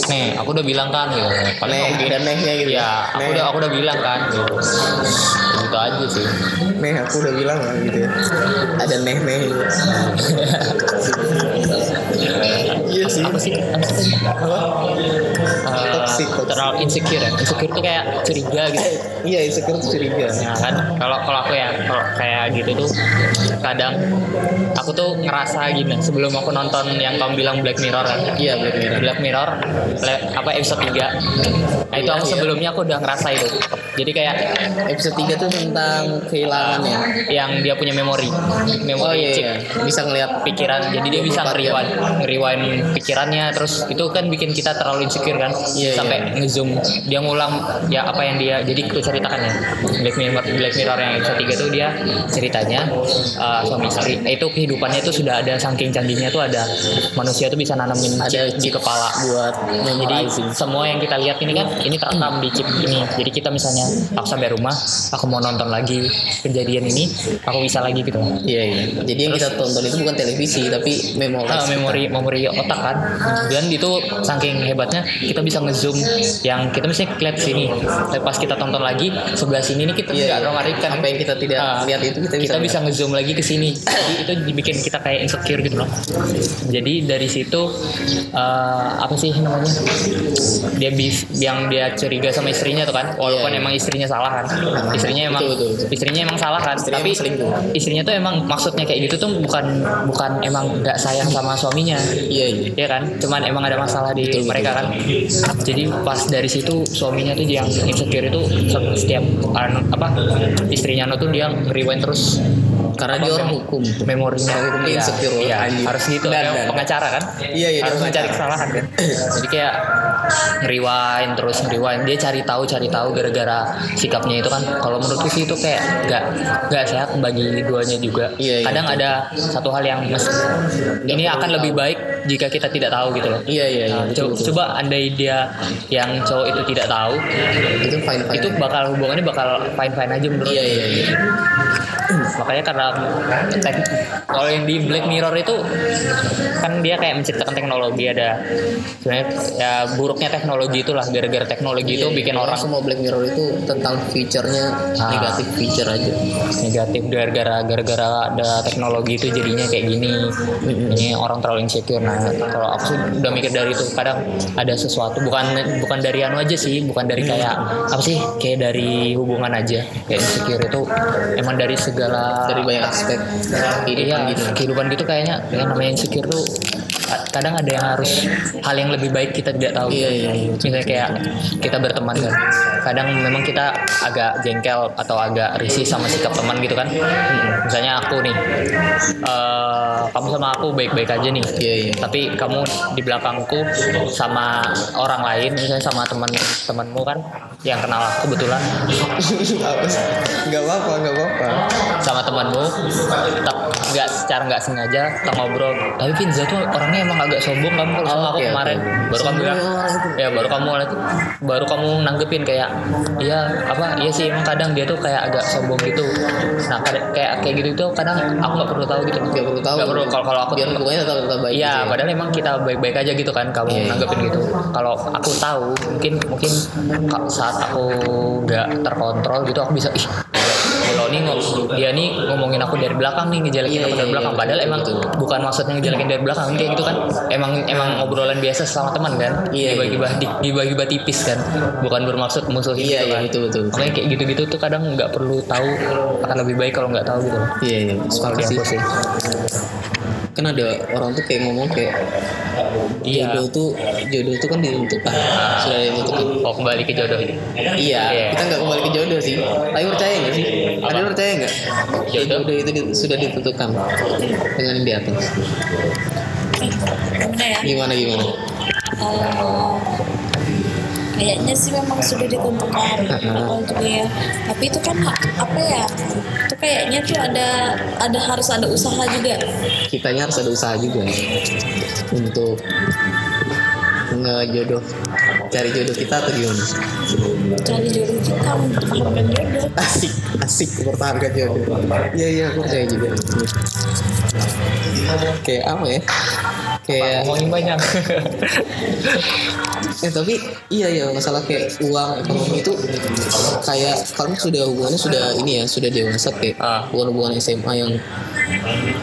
[SPEAKER 2] nih aku udah bilang kan gitu paling
[SPEAKER 1] Neh,
[SPEAKER 2] aku
[SPEAKER 1] ada nehnya gitu.
[SPEAKER 2] ya aku
[SPEAKER 1] Neh.
[SPEAKER 2] udah aku udah bilang kan gitu gitu aja sih
[SPEAKER 1] Neh, aku udah bilang lah gitu. ya. Ada gitu. neh neh. Iya sih.
[SPEAKER 2] apa sih
[SPEAKER 1] Apa?
[SPEAKER 2] Eh,
[SPEAKER 1] Toxic, toxic.
[SPEAKER 2] terlalu insecure ya insecure tuh kayak curiga gitu
[SPEAKER 1] Iya, insecure tuh curiga.
[SPEAKER 2] ya kan kalau kalau aku ya kalau kayak gitu tuh kadang aku tuh ngerasa gini sebelum aku nonton yang kamu bilang Black Mirror kan
[SPEAKER 1] Iya, Black Mirror.
[SPEAKER 2] Black Mirror le- apa episode 3 nah itu
[SPEAKER 1] Iya,
[SPEAKER 2] aku
[SPEAKER 1] iya.
[SPEAKER 2] sebelumnya aku udah ngerasa itu jadi kayak
[SPEAKER 1] Episode 3 tuh tentang kehilangan ya.
[SPEAKER 2] yang dia punya memori
[SPEAKER 1] Oh
[SPEAKER 2] memori
[SPEAKER 1] iya,
[SPEAKER 2] chip.
[SPEAKER 1] iya. bisa ngelihat
[SPEAKER 2] pikiran jadi dia bisa
[SPEAKER 1] 24
[SPEAKER 2] ngeriwain ngeriwain pikirannya terus itu kan bikin kita terlalu insecure kan
[SPEAKER 1] Iya,
[SPEAKER 2] sampai
[SPEAKER 1] iya.
[SPEAKER 2] ngezoom dia ngulang ya apa yang dia jadi aku ceritakan ya Black Mirror Black Mirror yang episode 3 itu dia ceritanya uh, suami istri Eh, itu kehidupannya itu sudah ada saking canggihnya tuh ada manusia tuh bisa nanamin
[SPEAKER 1] Ada
[SPEAKER 2] chip di kepala
[SPEAKER 1] buat
[SPEAKER 2] jadi
[SPEAKER 1] memorizing.
[SPEAKER 2] semua yang kita lihat ini kan ini terekam di chip ini jadi kita misalnya aku sampai rumah aku mau nonton lagi kejadian ini aku bisa lagi gitu
[SPEAKER 1] Iya iya. Jadi yang kita tonton itu bukan televisi tapi memori. Iya.
[SPEAKER 2] Ah, memori memori otak kan dan itu saking hebatnya kita bisa ngezoom film yang kita mesti lihat sini tapi pas kita tonton lagi sebelah sini ini kita
[SPEAKER 1] Iya,
[SPEAKER 2] nggak
[SPEAKER 1] iya.
[SPEAKER 2] yeah, ngarikan
[SPEAKER 1] Apa yang kita tidak
[SPEAKER 2] Ah,
[SPEAKER 1] lihat itu kita bisa
[SPEAKER 2] bisa ngezoom lagi ke sini jadi itu dibikin kita kayak insecure gitu loh jadi dari situ eh, apa sih namanya dia bis, yang dia curiga sama istrinya tuh kan walaupun
[SPEAKER 1] Iya, iya.
[SPEAKER 2] emang istrinya salah kan istrinya emang
[SPEAKER 1] Betul, betul, betul.
[SPEAKER 2] istrinya emang salah kan
[SPEAKER 1] Istrinya
[SPEAKER 2] tapi
[SPEAKER 1] emang selingkuh.
[SPEAKER 2] istrinya tuh emang maksudnya kayak gitu tuh bukan bukan emang nggak sayang sama suaminya
[SPEAKER 1] iya iya
[SPEAKER 2] ya kan cuman emang ada masalah di
[SPEAKER 1] Betul,
[SPEAKER 2] mereka kan jadi pas dari situ suaminya tuh yang insecure itu se- setiap anu- apa istrinya no tuh dia rewind terus
[SPEAKER 1] Karena
[SPEAKER 2] apa,
[SPEAKER 1] dia orang
[SPEAKER 2] mem-
[SPEAKER 1] hukum.
[SPEAKER 2] memorinya
[SPEAKER 1] Orang hukum
[SPEAKER 2] Iya,
[SPEAKER 1] insecure,
[SPEAKER 2] iya,
[SPEAKER 1] anjir.
[SPEAKER 2] harus gitu
[SPEAKER 1] Dan-
[SPEAKER 2] dia
[SPEAKER 1] dan.
[SPEAKER 2] pengacara kan
[SPEAKER 1] Iya, iya, dia
[SPEAKER 2] harus mencari
[SPEAKER 1] pengacara.
[SPEAKER 2] kesalahan kan jadi kayak ngeriwain terus ngeriwain dia cari tahu cari tahu gara-gara sikapnya itu kan kalau menurutku sih itu kayak nggak nggak sehat bagi duanya juga
[SPEAKER 1] Iya, iya.
[SPEAKER 2] kadang ada satu hal yang mes- ini akan lebih baik jika kita tidak tahu gitu loh
[SPEAKER 1] iya iya, iya
[SPEAKER 2] Nah,
[SPEAKER 1] betul,
[SPEAKER 2] co-
[SPEAKER 1] betul.
[SPEAKER 2] coba andai dia yang cowok itu tidak tahu,
[SPEAKER 1] itu fine fine
[SPEAKER 2] itu bakal hubungannya bakal fine fine aja menurut.
[SPEAKER 1] iya iya iya
[SPEAKER 2] Makanya karena tek- kalau yang di Black Mirror itu kan dia kayak menceritakan teknologi ada sebenarnya ya buruknya teknologi itulah gara-gara teknologi itu
[SPEAKER 1] Iya,
[SPEAKER 2] bikin
[SPEAKER 1] iya.
[SPEAKER 2] orang
[SPEAKER 1] semua Black Mirror itu tentang feature-nya
[SPEAKER 2] Ah.
[SPEAKER 1] negatif feature aja
[SPEAKER 2] negatif gara-gara gara-gara ada teknologi itu jadinya kayak gini ini orang terlalu insecure nah kalau aku sih udah mikir dari itu kadang ada sesuatu bukan bukan dari anu aja sih bukan dari kayak apa sih kayak dari hubungan aja kayak insecure itu emang dari segala
[SPEAKER 1] dari banyak aspek kehidupan
[SPEAKER 2] iya,
[SPEAKER 1] gitu
[SPEAKER 2] kehidupan gitu kayaknya yang namanya insecure tuh ka- kadang ada yang harus hal yang lebih baik kita tidak tahu
[SPEAKER 1] Iya, iya, iya.
[SPEAKER 2] misalnya kayak kita berteman kan kadang memang kita agak jengkel atau agak risih sama sikap teman gitu kan misalnya aku nih eh, kamu sama aku baik-baik aja nih
[SPEAKER 1] Iya, iya.
[SPEAKER 2] tapi kamu di belakangku sama orang lain misalnya sama teman temanmu kan yang kenal aku kebetulan
[SPEAKER 1] Apa sih? nggak apa-apa nggak apa-apa
[SPEAKER 2] sama temanmu tak nggak secara nggak sengaja kita ngobrol tapi Vinza tuh orangnya emang agak sombong kamu kalau sama
[SPEAKER 1] Oh,
[SPEAKER 2] aku
[SPEAKER 1] oke,
[SPEAKER 2] kemarin
[SPEAKER 1] oke.
[SPEAKER 2] baru
[SPEAKER 1] Sombong
[SPEAKER 2] kamu bilang
[SPEAKER 1] orang itu.
[SPEAKER 2] ya baru kamu baru kamu nanggepin kayak iya apa iya sih emang kadang dia tuh kayak agak sombong gitu nah kad- kayak kayak gitu itu kadang aku nggak perlu tahu gitu
[SPEAKER 1] nggak perlu tahu
[SPEAKER 2] nggak perlu kalau kalau aku
[SPEAKER 1] biar hubungannya tetap tetap baik gitu
[SPEAKER 2] Iya,
[SPEAKER 1] ya.
[SPEAKER 2] padahal emang kita baik-baik aja gitu kan kamu
[SPEAKER 1] Iya, iya.
[SPEAKER 2] nanggepin gitu. Kalau aku tahu, mungkin mungkin ka- saat aku nggak terkontrol gitu aku bisa ih kalau nih ngom- dia nih ngomongin aku dari belakang nih ngejelekin
[SPEAKER 1] Iya,
[SPEAKER 2] aku dari
[SPEAKER 1] iya,
[SPEAKER 2] belakang
[SPEAKER 1] iya,
[SPEAKER 2] padahal
[SPEAKER 1] betul,
[SPEAKER 2] emang
[SPEAKER 1] betul.
[SPEAKER 2] bukan maksudnya ngejelekin dari belakang kayak gitu kan emang emang obrolan biasa sama teman kan
[SPEAKER 1] Iya,
[SPEAKER 2] dibagi-bagi dibagi-bagi tipis kan bukan bermaksud musuh
[SPEAKER 1] Iya,
[SPEAKER 2] gitu
[SPEAKER 1] iya,
[SPEAKER 2] kan
[SPEAKER 1] betul, betul, betul.
[SPEAKER 2] makanya kayak gitu-gitu tuh kadang nggak perlu tahu akan lebih baik kalau nggak tahu gitu
[SPEAKER 1] iya iya
[SPEAKER 2] kalau
[SPEAKER 1] sepakat
[SPEAKER 2] di
[SPEAKER 1] sih
[SPEAKER 2] aku sih
[SPEAKER 1] kan ada orang tuh kayak ngomong kayak
[SPEAKER 2] iya
[SPEAKER 1] jodoh tuh jodoh tuh kan ditentukan sudah ada yang ditentukan
[SPEAKER 2] oh kembali ke jodoh
[SPEAKER 1] iya
[SPEAKER 2] Iya.
[SPEAKER 1] kita nggak kembali ke jodoh sih tapi percaya nggak sih ada
[SPEAKER 2] Apa?
[SPEAKER 1] percaya nggak Ya,
[SPEAKER 2] Jodoh?
[SPEAKER 1] jodoh itu di- sudah ditentukan dengan yang di atas
[SPEAKER 3] Gimana ya?
[SPEAKER 1] gimana gimana
[SPEAKER 3] Eh, kayaknya sih memang sudah ditentukan
[SPEAKER 1] Heeh.
[SPEAKER 3] kalau itu ya tapi itu kan apa ya itu kayaknya tuh ada ada harus ada usaha juga
[SPEAKER 1] kitanya harus ada usaha juga untuk ngejodoh cari jodoh kita atau gimana
[SPEAKER 3] cari jodoh kita untuk menemukan jodoh
[SPEAKER 1] asik asik bertarga jodoh iya iya aku percaya juga kayak apa ya kayak
[SPEAKER 2] ngomongin banyak
[SPEAKER 1] Eh tapi iya ya masalah kayak uang ekonomi itu kayak kan sudah hubungannya sudah ini ya sudah dewasa kayak
[SPEAKER 2] Ah.
[SPEAKER 1] bukan hubungan SMA yang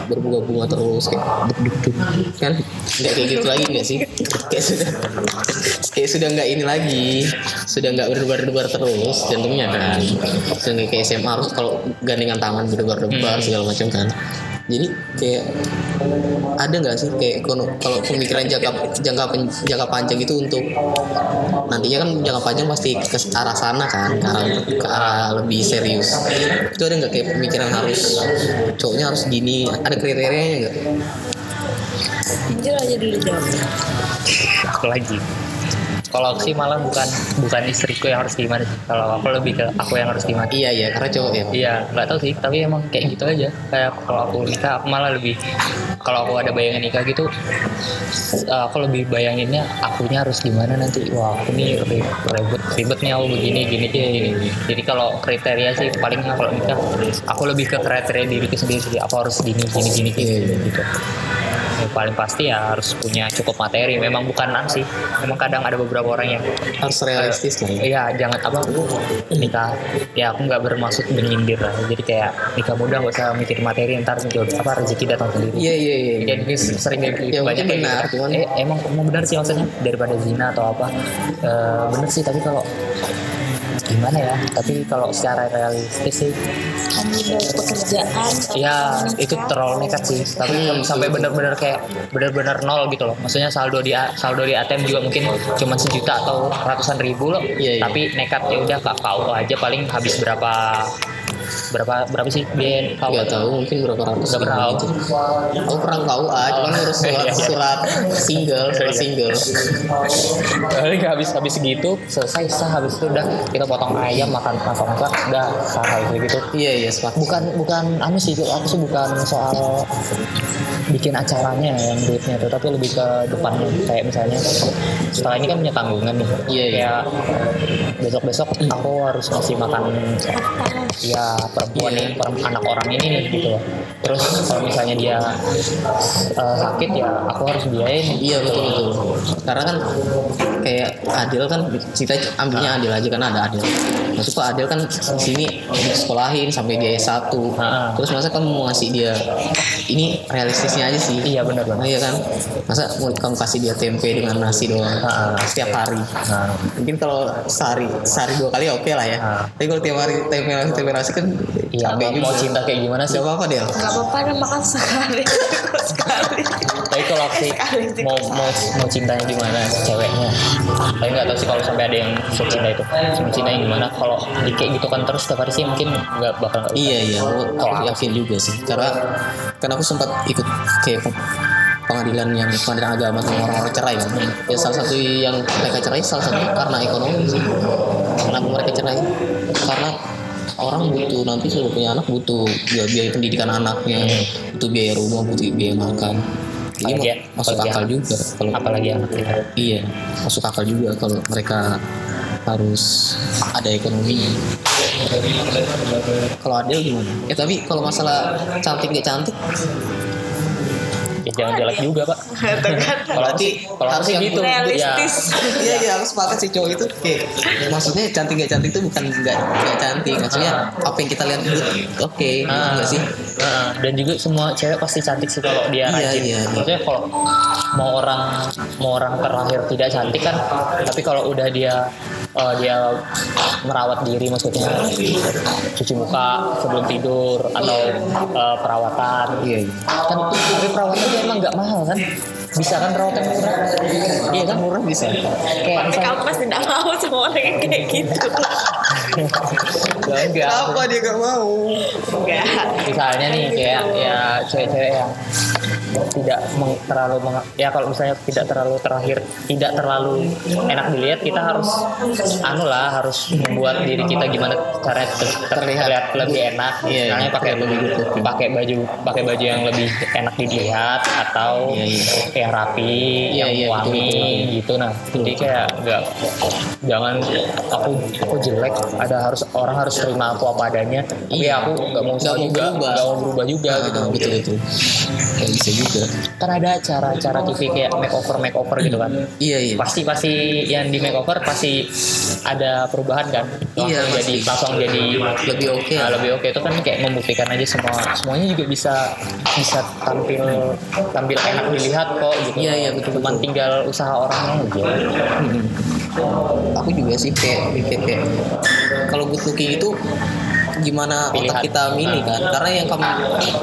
[SPEAKER 1] berbunga-bunga terus kayak duk duk duk kan nggak kayak gitu lagi nggak sih kayak sudah kayak sudah nggak ini lagi sudah nggak berdebar-debar terus jantungnya kan sudah nggak kayak SMA harus kalau gandengan tangan berdebar-debar segala macam kan jadi kayak ada nggak sih kayak ekono- kalau pemikiran jangka jangka pen- jangka panjang itu untuk nantinya kan jangka panjang pasti ke arah sana kan ke arah, ke arah lebih serius itu ada nggak kayak pemikiran harus cowoknya harus gini ada kriterianya nggak
[SPEAKER 3] jujur aja dulu jawabnya
[SPEAKER 2] aku lagi kalau aku sih malah bukan bukan istriku yang harus gimana sih kalau aku lebih ke aku yang harus gimana
[SPEAKER 1] iya iya karena cowok ya
[SPEAKER 2] iya nggak tahu sih tapi emang kayak gitu aja kayak kalau aku nikah aku malah lebih kalau aku ada bayangan nikah gitu eh, aku lebih bayanginnya akunya harus gimana nanti wah aku nih ri- ribet ribet nih aku begini gini gini, gini. jadi kalau kriteria sih paling kalau nikah aku lebih ke kriteria diriku sendiri sih. aku harus gini gini gini, gini
[SPEAKER 1] Iya, iya.
[SPEAKER 2] gitu Ya, paling pasti ya harus punya cukup materi. Memang bukan nan sih. Memang kadang ada beberapa orang yang
[SPEAKER 1] harus realistis lah ya.
[SPEAKER 2] Iya, jangan apa nikah. Ya aku nggak bermaksud menyindir lah. Jadi kayak nikah muda nggak usah mikir materi ntar mikir apa rezeki datang sendiri.
[SPEAKER 1] Iya iya iya.
[SPEAKER 2] Jadi ini sering kayak
[SPEAKER 1] Ya,
[SPEAKER 2] gitu.
[SPEAKER 1] mungkin
[SPEAKER 2] kayak
[SPEAKER 1] benar,
[SPEAKER 2] gitu.
[SPEAKER 1] cuman-
[SPEAKER 2] Eh, emang emang benar sih maksudnya daripada zina atau apa. Eh, benar sih tapi kalau gimana ya? Tapi kalau secara realistis sih
[SPEAKER 3] Kamu udah pekerjaan. tapi
[SPEAKER 2] Ya,
[SPEAKER 3] kamu
[SPEAKER 2] itu
[SPEAKER 3] nikah.
[SPEAKER 2] terlalu nekat sih. Tapi
[SPEAKER 1] Hmm.
[SPEAKER 2] sampai benar-benar kayak benar-benar nol gitu loh. Maksudnya saldo di A- saldo di ATM juga mungkin cuma sejuta atau ratusan ribu loh.
[SPEAKER 1] Iya, iya.
[SPEAKER 2] Tapi nekat ya udah kak kau aja paling habis berapa berapa berapa sih dia kau
[SPEAKER 1] Gak tahu mungkin berapa ratus
[SPEAKER 2] Nggak pernah
[SPEAKER 1] gitu. Aku pernah KUA, cuman ngurus surat
[SPEAKER 2] Iya, iya.
[SPEAKER 1] surat single, surat
[SPEAKER 2] Iya.
[SPEAKER 1] single.
[SPEAKER 2] paling habis habis gitu selesai sah habis itu udah kita potong ayam makan masak masak udah sah habis gitu
[SPEAKER 1] Iya iya sepakat.
[SPEAKER 2] bukan bukan anu sih aku sih bukan soal bikin acaranya yang duitnya tuh tapi lebih ke depannya kayak misalnya setelah ini kan punya tanggungan nih
[SPEAKER 1] Iya, iya.
[SPEAKER 2] Kayak besok besok aku harus ngasih makan ya perempuan
[SPEAKER 1] Iya.
[SPEAKER 2] ini perem- anak orang ini nih gitu loh terus kalau misalnya dia eh, sakit ya aku harus biayain
[SPEAKER 1] Iya betul betul. Karena kan kayak Adil kan kita
[SPEAKER 2] Ah.
[SPEAKER 1] ambilnya Adil aja karena ada Adil. Maksudku Adil kan di sini sekolahin sampai dia S1.
[SPEAKER 2] Ah.
[SPEAKER 1] Terus masa kamu mau ngasih dia ini realistisnya aja sih.
[SPEAKER 2] iya bener
[SPEAKER 1] Nah,
[SPEAKER 2] banget
[SPEAKER 1] iya kan. Masa mau kamu kasih dia tempe dengan nasi doang
[SPEAKER 2] Ah.
[SPEAKER 1] setiap hari.
[SPEAKER 2] nah,
[SPEAKER 1] Mungkin kalau sehari sehari dua kali ya oke lah ya.
[SPEAKER 2] Ah.
[SPEAKER 1] Tapi kalau tiap hari tempe nasi tempe nasi kan
[SPEAKER 2] iya
[SPEAKER 1] capek
[SPEAKER 2] mau,
[SPEAKER 1] juga.
[SPEAKER 2] mau cinta kayak gimana sih
[SPEAKER 1] Gak apa-apa Del.
[SPEAKER 3] Gak apa-apa, kan makan sekali. sekali.
[SPEAKER 2] tapi kalau aku sih mau mau mau cintanya gimana ceweknya tapi nggak tahu sih kalau sampai ada yang sok cinta itu sok cintanya gimana kalau di- kayak gitu kan terus tiap hari sih mungkin nggak bakal nggak bisa.
[SPEAKER 1] Iya iya, aku, aku
[SPEAKER 2] Kalau
[SPEAKER 1] yakin juga sih. Karena karena aku sempat ikut kayak pe- pengadilan yang pengadilan agama sama orang-orang cerai kan. Ya salah satu yang mereka cerai salah satu karena ekonomi sih. Kenapa mereka cerai? Karena orang butuh nanti sudah punya anak butuh biaya, biaya pendidikan anaknya, butuh biaya rumah, butuh biaya makan. Jadi
[SPEAKER 2] Apalagi ya,
[SPEAKER 1] masuk
[SPEAKER 2] apalagi
[SPEAKER 1] akal
[SPEAKER 2] anak.
[SPEAKER 1] juga kalau
[SPEAKER 2] apalagi anak kita
[SPEAKER 1] iya masuk akal juga kalau mereka harus ada ekonominya kalau adil gimana ya tapi kalau masalah cantik gak cantik
[SPEAKER 2] ya jangan jelek juga pak kalau
[SPEAKER 1] Berarti
[SPEAKER 2] sih kalau
[SPEAKER 1] harus
[SPEAKER 2] harus
[SPEAKER 1] yang
[SPEAKER 2] gitu
[SPEAKER 3] Realistis.
[SPEAKER 1] iya iya aku sepakat sih cowok itu kayak maksudnya cantik gak cantik itu bukan gak, gak cantik maksudnya apa yang kita lihat itu oke
[SPEAKER 2] Ya.
[SPEAKER 1] gitu
[SPEAKER 2] Ah,
[SPEAKER 1] nggak sih
[SPEAKER 2] ah, dan juga semua cewek pasti cantik sih kalau dia
[SPEAKER 1] Iya, iya,
[SPEAKER 2] rajin.
[SPEAKER 1] iya.
[SPEAKER 2] Maksudnya kalau mau orang mau orang terlahir tidak cantik kan, tapi kalau udah dia eh, dia merawat diri maksudnya cuci muka sebelum tidur atau eh, perawatan
[SPEAKER 1] iya
[SPEAKER 2] kan tapi perawatan itu emang nggak mahal kan bisa kan perawatan murah iya kan
[SPEAKER 1] murah bisa
[SPEAKER 2] kayak
[SPEAKER 3] Tapi
[SPEAKER 2] misalnya
[SPEAKER 3] kamu pasti gak mau sama orang yang kayak gitu.
[SPEAKER 2] Ya, enggak.
[SPEAKER 1] dia gak mau
[SPEAKER 3] Enggak.
[SPEAKER 2] misalnya nih kayak ya cewek-cewek yang tidak meng- terlalu meng- ya kalau misalnya tidak terlalu terakhir tidak terlalu enak dilihat kita harus anu lah harus membuat diri kita gimana caranya ter- ter-
[SPEAKER 1] Terlihat.
[SPEAKER 2] terlihat lebih enak
[SPEAKER 1] Iya,
[SPEAKER 2] misalnya pakai lebih pakai baju pakai baju yang lebih enak dilihat atau
[SPEAKER 1] Iya, iya.
[SPEAKER 2] yang rapi
[SPEAKER 1] Iya,
[SPEAKER 2] yang
[SPEAKER 1] iya, betul,
[SPEAKER 2] wangi
[SPEAKER 1] betul, betul.
[SPEAKER 2] gitu nah jadi kayak nggak jangan aku aku jelek ada harus orang harus terima aku apa adanya tapi
[SPEAKER 1] Iya.
[SPEAKER 2] aku nggak mau
[SPEAKER 1] Nggak
[SPEAKER 2] usah
[SPEAKER 1] mau
[SPEAKER 2] juga
[SPEAKER 1] berubah.
[SPEAKER 2] nggak mau berubah juga gitu
[SPEAKER 1] nah, betul betul Gak bisa juga
[SPEAKER 2] kan ada acara-acara TV kayak makeover makeover gitu kan
[SPEAKER 1] iya iya
[SPEAKER 2] pasti pasti yang di makeover pasti ada perubahan kan langsung
[SPEAKER 1] Iya,
[SPEAKER 2] jadi
[SPEAKER 1] pasti.
[SPEAKER 2] langsung jadi
[SPEAKER 1] lebih oke
[SPEAKER 2] Nah,
[SPEAKER 1] lah.
[SPEAKER 2] lebih oke itu kan kayak membuktikan aja semua semuanya juga bisa bisa tampil tampil enak dilihat kok gitu
[SPEAKER 1] Iya, iya, betul,
[SPEAKER 2] cuman
[SPEAKER 1] betul.
[SPEAKER 2] tinggal usaha orangnya aja
[SPEAKER 1] aku juga sih kayak mikir kayak kalau good looking itu gimana otak
[SPEAKER 2] Pilihan. Nah.
[SPEAKER 1] kita milih kan karena yang kamu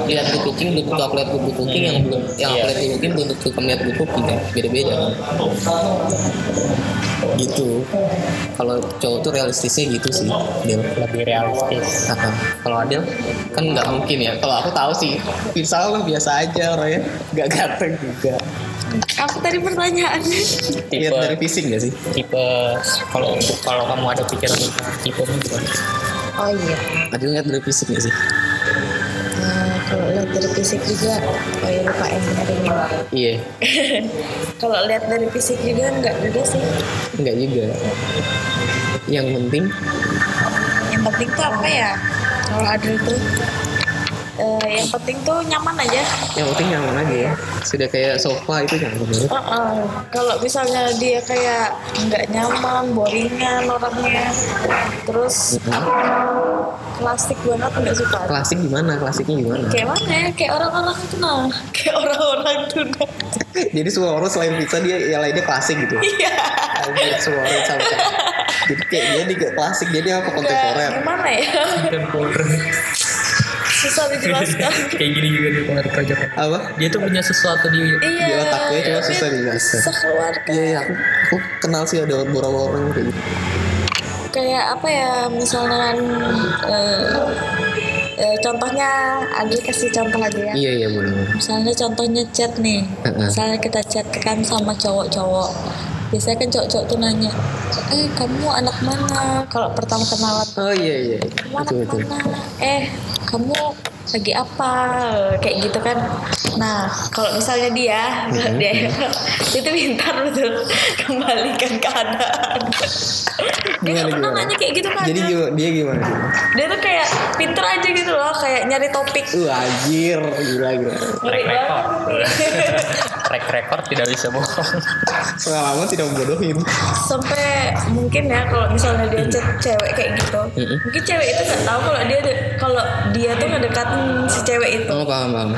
[SPEAKER 1] lihat good looking belum tentu aku lihat good looking yang belum yang aku
[SPEAKER 2] Iya.
[SPEAKER 1] lihat good looking belum tentu kamu lihat good looking kan beda beda kan gitu kalau cowok tuh realistisnya gitu sih Del
[SPEAKER 2] lebih realistis
[SPEAKER 1] Apa? kalau Adil kan nggak mungkin ya kalau aku tahu sih Insya Allah biasa aja orangnya nggak ganteng juga
[SPEAKER 3] Aku tadi pertanyaannya.
[SPEAKER 1] lihat
[SPEAKER 2] tipe
[SPEAKER 1] dari fisik nggak sih
[SPEAKER 2] tipe kalau kalau kamu ada pikiran tipe gitu. gimana
[SPEAKER 3] Oh iya.
[SPEAKER 1] Adil lihat dari fisik nggak sih
[SPEAKER 3] Nah, kalau lihat dari fisik juga, oh iya lupa MR-nya.
[SPEAKER 1] iya
[SPEAKER 3] Kalau lihat dari fisik juga enggak juga sih.
[SPEAKER 1] Enggak juga. Yang penting
[SPEAKER 3] Yang penting tuh apa ya? Kalau adil tuh eh, yang penting tuh nyaman aja
[SPEAKER 1] yang penting nyaman aja ya sudah kayak sofa itu nyaman banget
[SPEAKER 3] Heeh. kalau misalnya dia kayak nggak nyaman boringan orangnya terus klasik banget nggak suka
[SPEAKER 1] klasik gimana klasiknya gimana
[SPEAKER 3] kayak mana ya? kayak orang-orang itu nah kayak orang-orang itu nah.
[SPEAKER 1] jadi semua orang selain pizza dia yang lainnya klasik gitu
[SPEAKER 3] iya
[SPEAKER 1] Albert semua orang sama kayak jadi kayak dia di kayak klasik jadi apa
[SPEAKER 3] Iya. Nggak-
[SPEAKER 1] kontemporer
[SPEAKER 3] gimana ya susah dijelaskan
[SPEAKER 2] kayak gini juga di keluarga Joko.
[SPEAKER 1] apa
[SPEAKER 2] dia tuh punya sesuatu di
[SPEAKER 3] iya
[SPEAKER 1] Di otak gue cuma susah dijelaskan.
[SPEAKER 3] sekeluarga
[SPEAKER 1] iya iya aku, aku kenal sih ada beberapa orang kayak gitu
[SPEAKER 3] Iya. kayak apa ya misalnya eh, eh, contohnya Adi kasih contoh aja ya
[SPEAKER 1] iya iya boleh
[SPEAKER 3] misalnya contohnya chat nih
[SPEAKER 1] Heeh.
[SPEAKER 3] misalnya kita chat kan sama cowok-cowok biasanya kan cowok-cowok tuh nanya eh kamu anak mana kalau pertama kenalan
[SPEAKER 1] oh iya iya
[SPEAKER 3] kamu anak
[SPEAKER 1] betul betul
[SPEAKER 3] mana eh kamu lagi apa kayak gitu kan nah kalau misalnya dia
[SPEAKER 1] Mm-hmm,
[SPEAKER 3] dia itu pintar betul kembalikan keadaan
[SPEAKER 1] Gimana,
[SPEAKER 3] dia nggak pernah
[SPEAKER 1] gimana?
[SPEAKER 3] nanya kayak gitu kan
[SPEAKER 1] jadi gimana, dia gimana
[SPEAKER 3] dia tuh kayak pintar aja gitu loh kayak nyari topik Iya.
[SPEAKER 1] uh anjir gila gila
[SPEAKER 3] Ngeri
[SPEAKER 2] Track
[SPEAKER 3] banget nih.
[SPEAKER 2] track record tidak bisa bohong
[SPEAKER 1] pengalaman tidak membodohin
[SPEAKER 3] sampai mungkin ya kalau misalnya dia
[SPEAKER 1] Mm-hmm.
[SPEAKER 3] chat cewek kayak gitu
[SPEAKER 1] Mm-mm.
[SPEAKER 3] mungkin cewek itu nggak tahu kalau dia de- kalau dia tuh ngedekatin si cewek itu
[SPEAKER 1] oh paham paham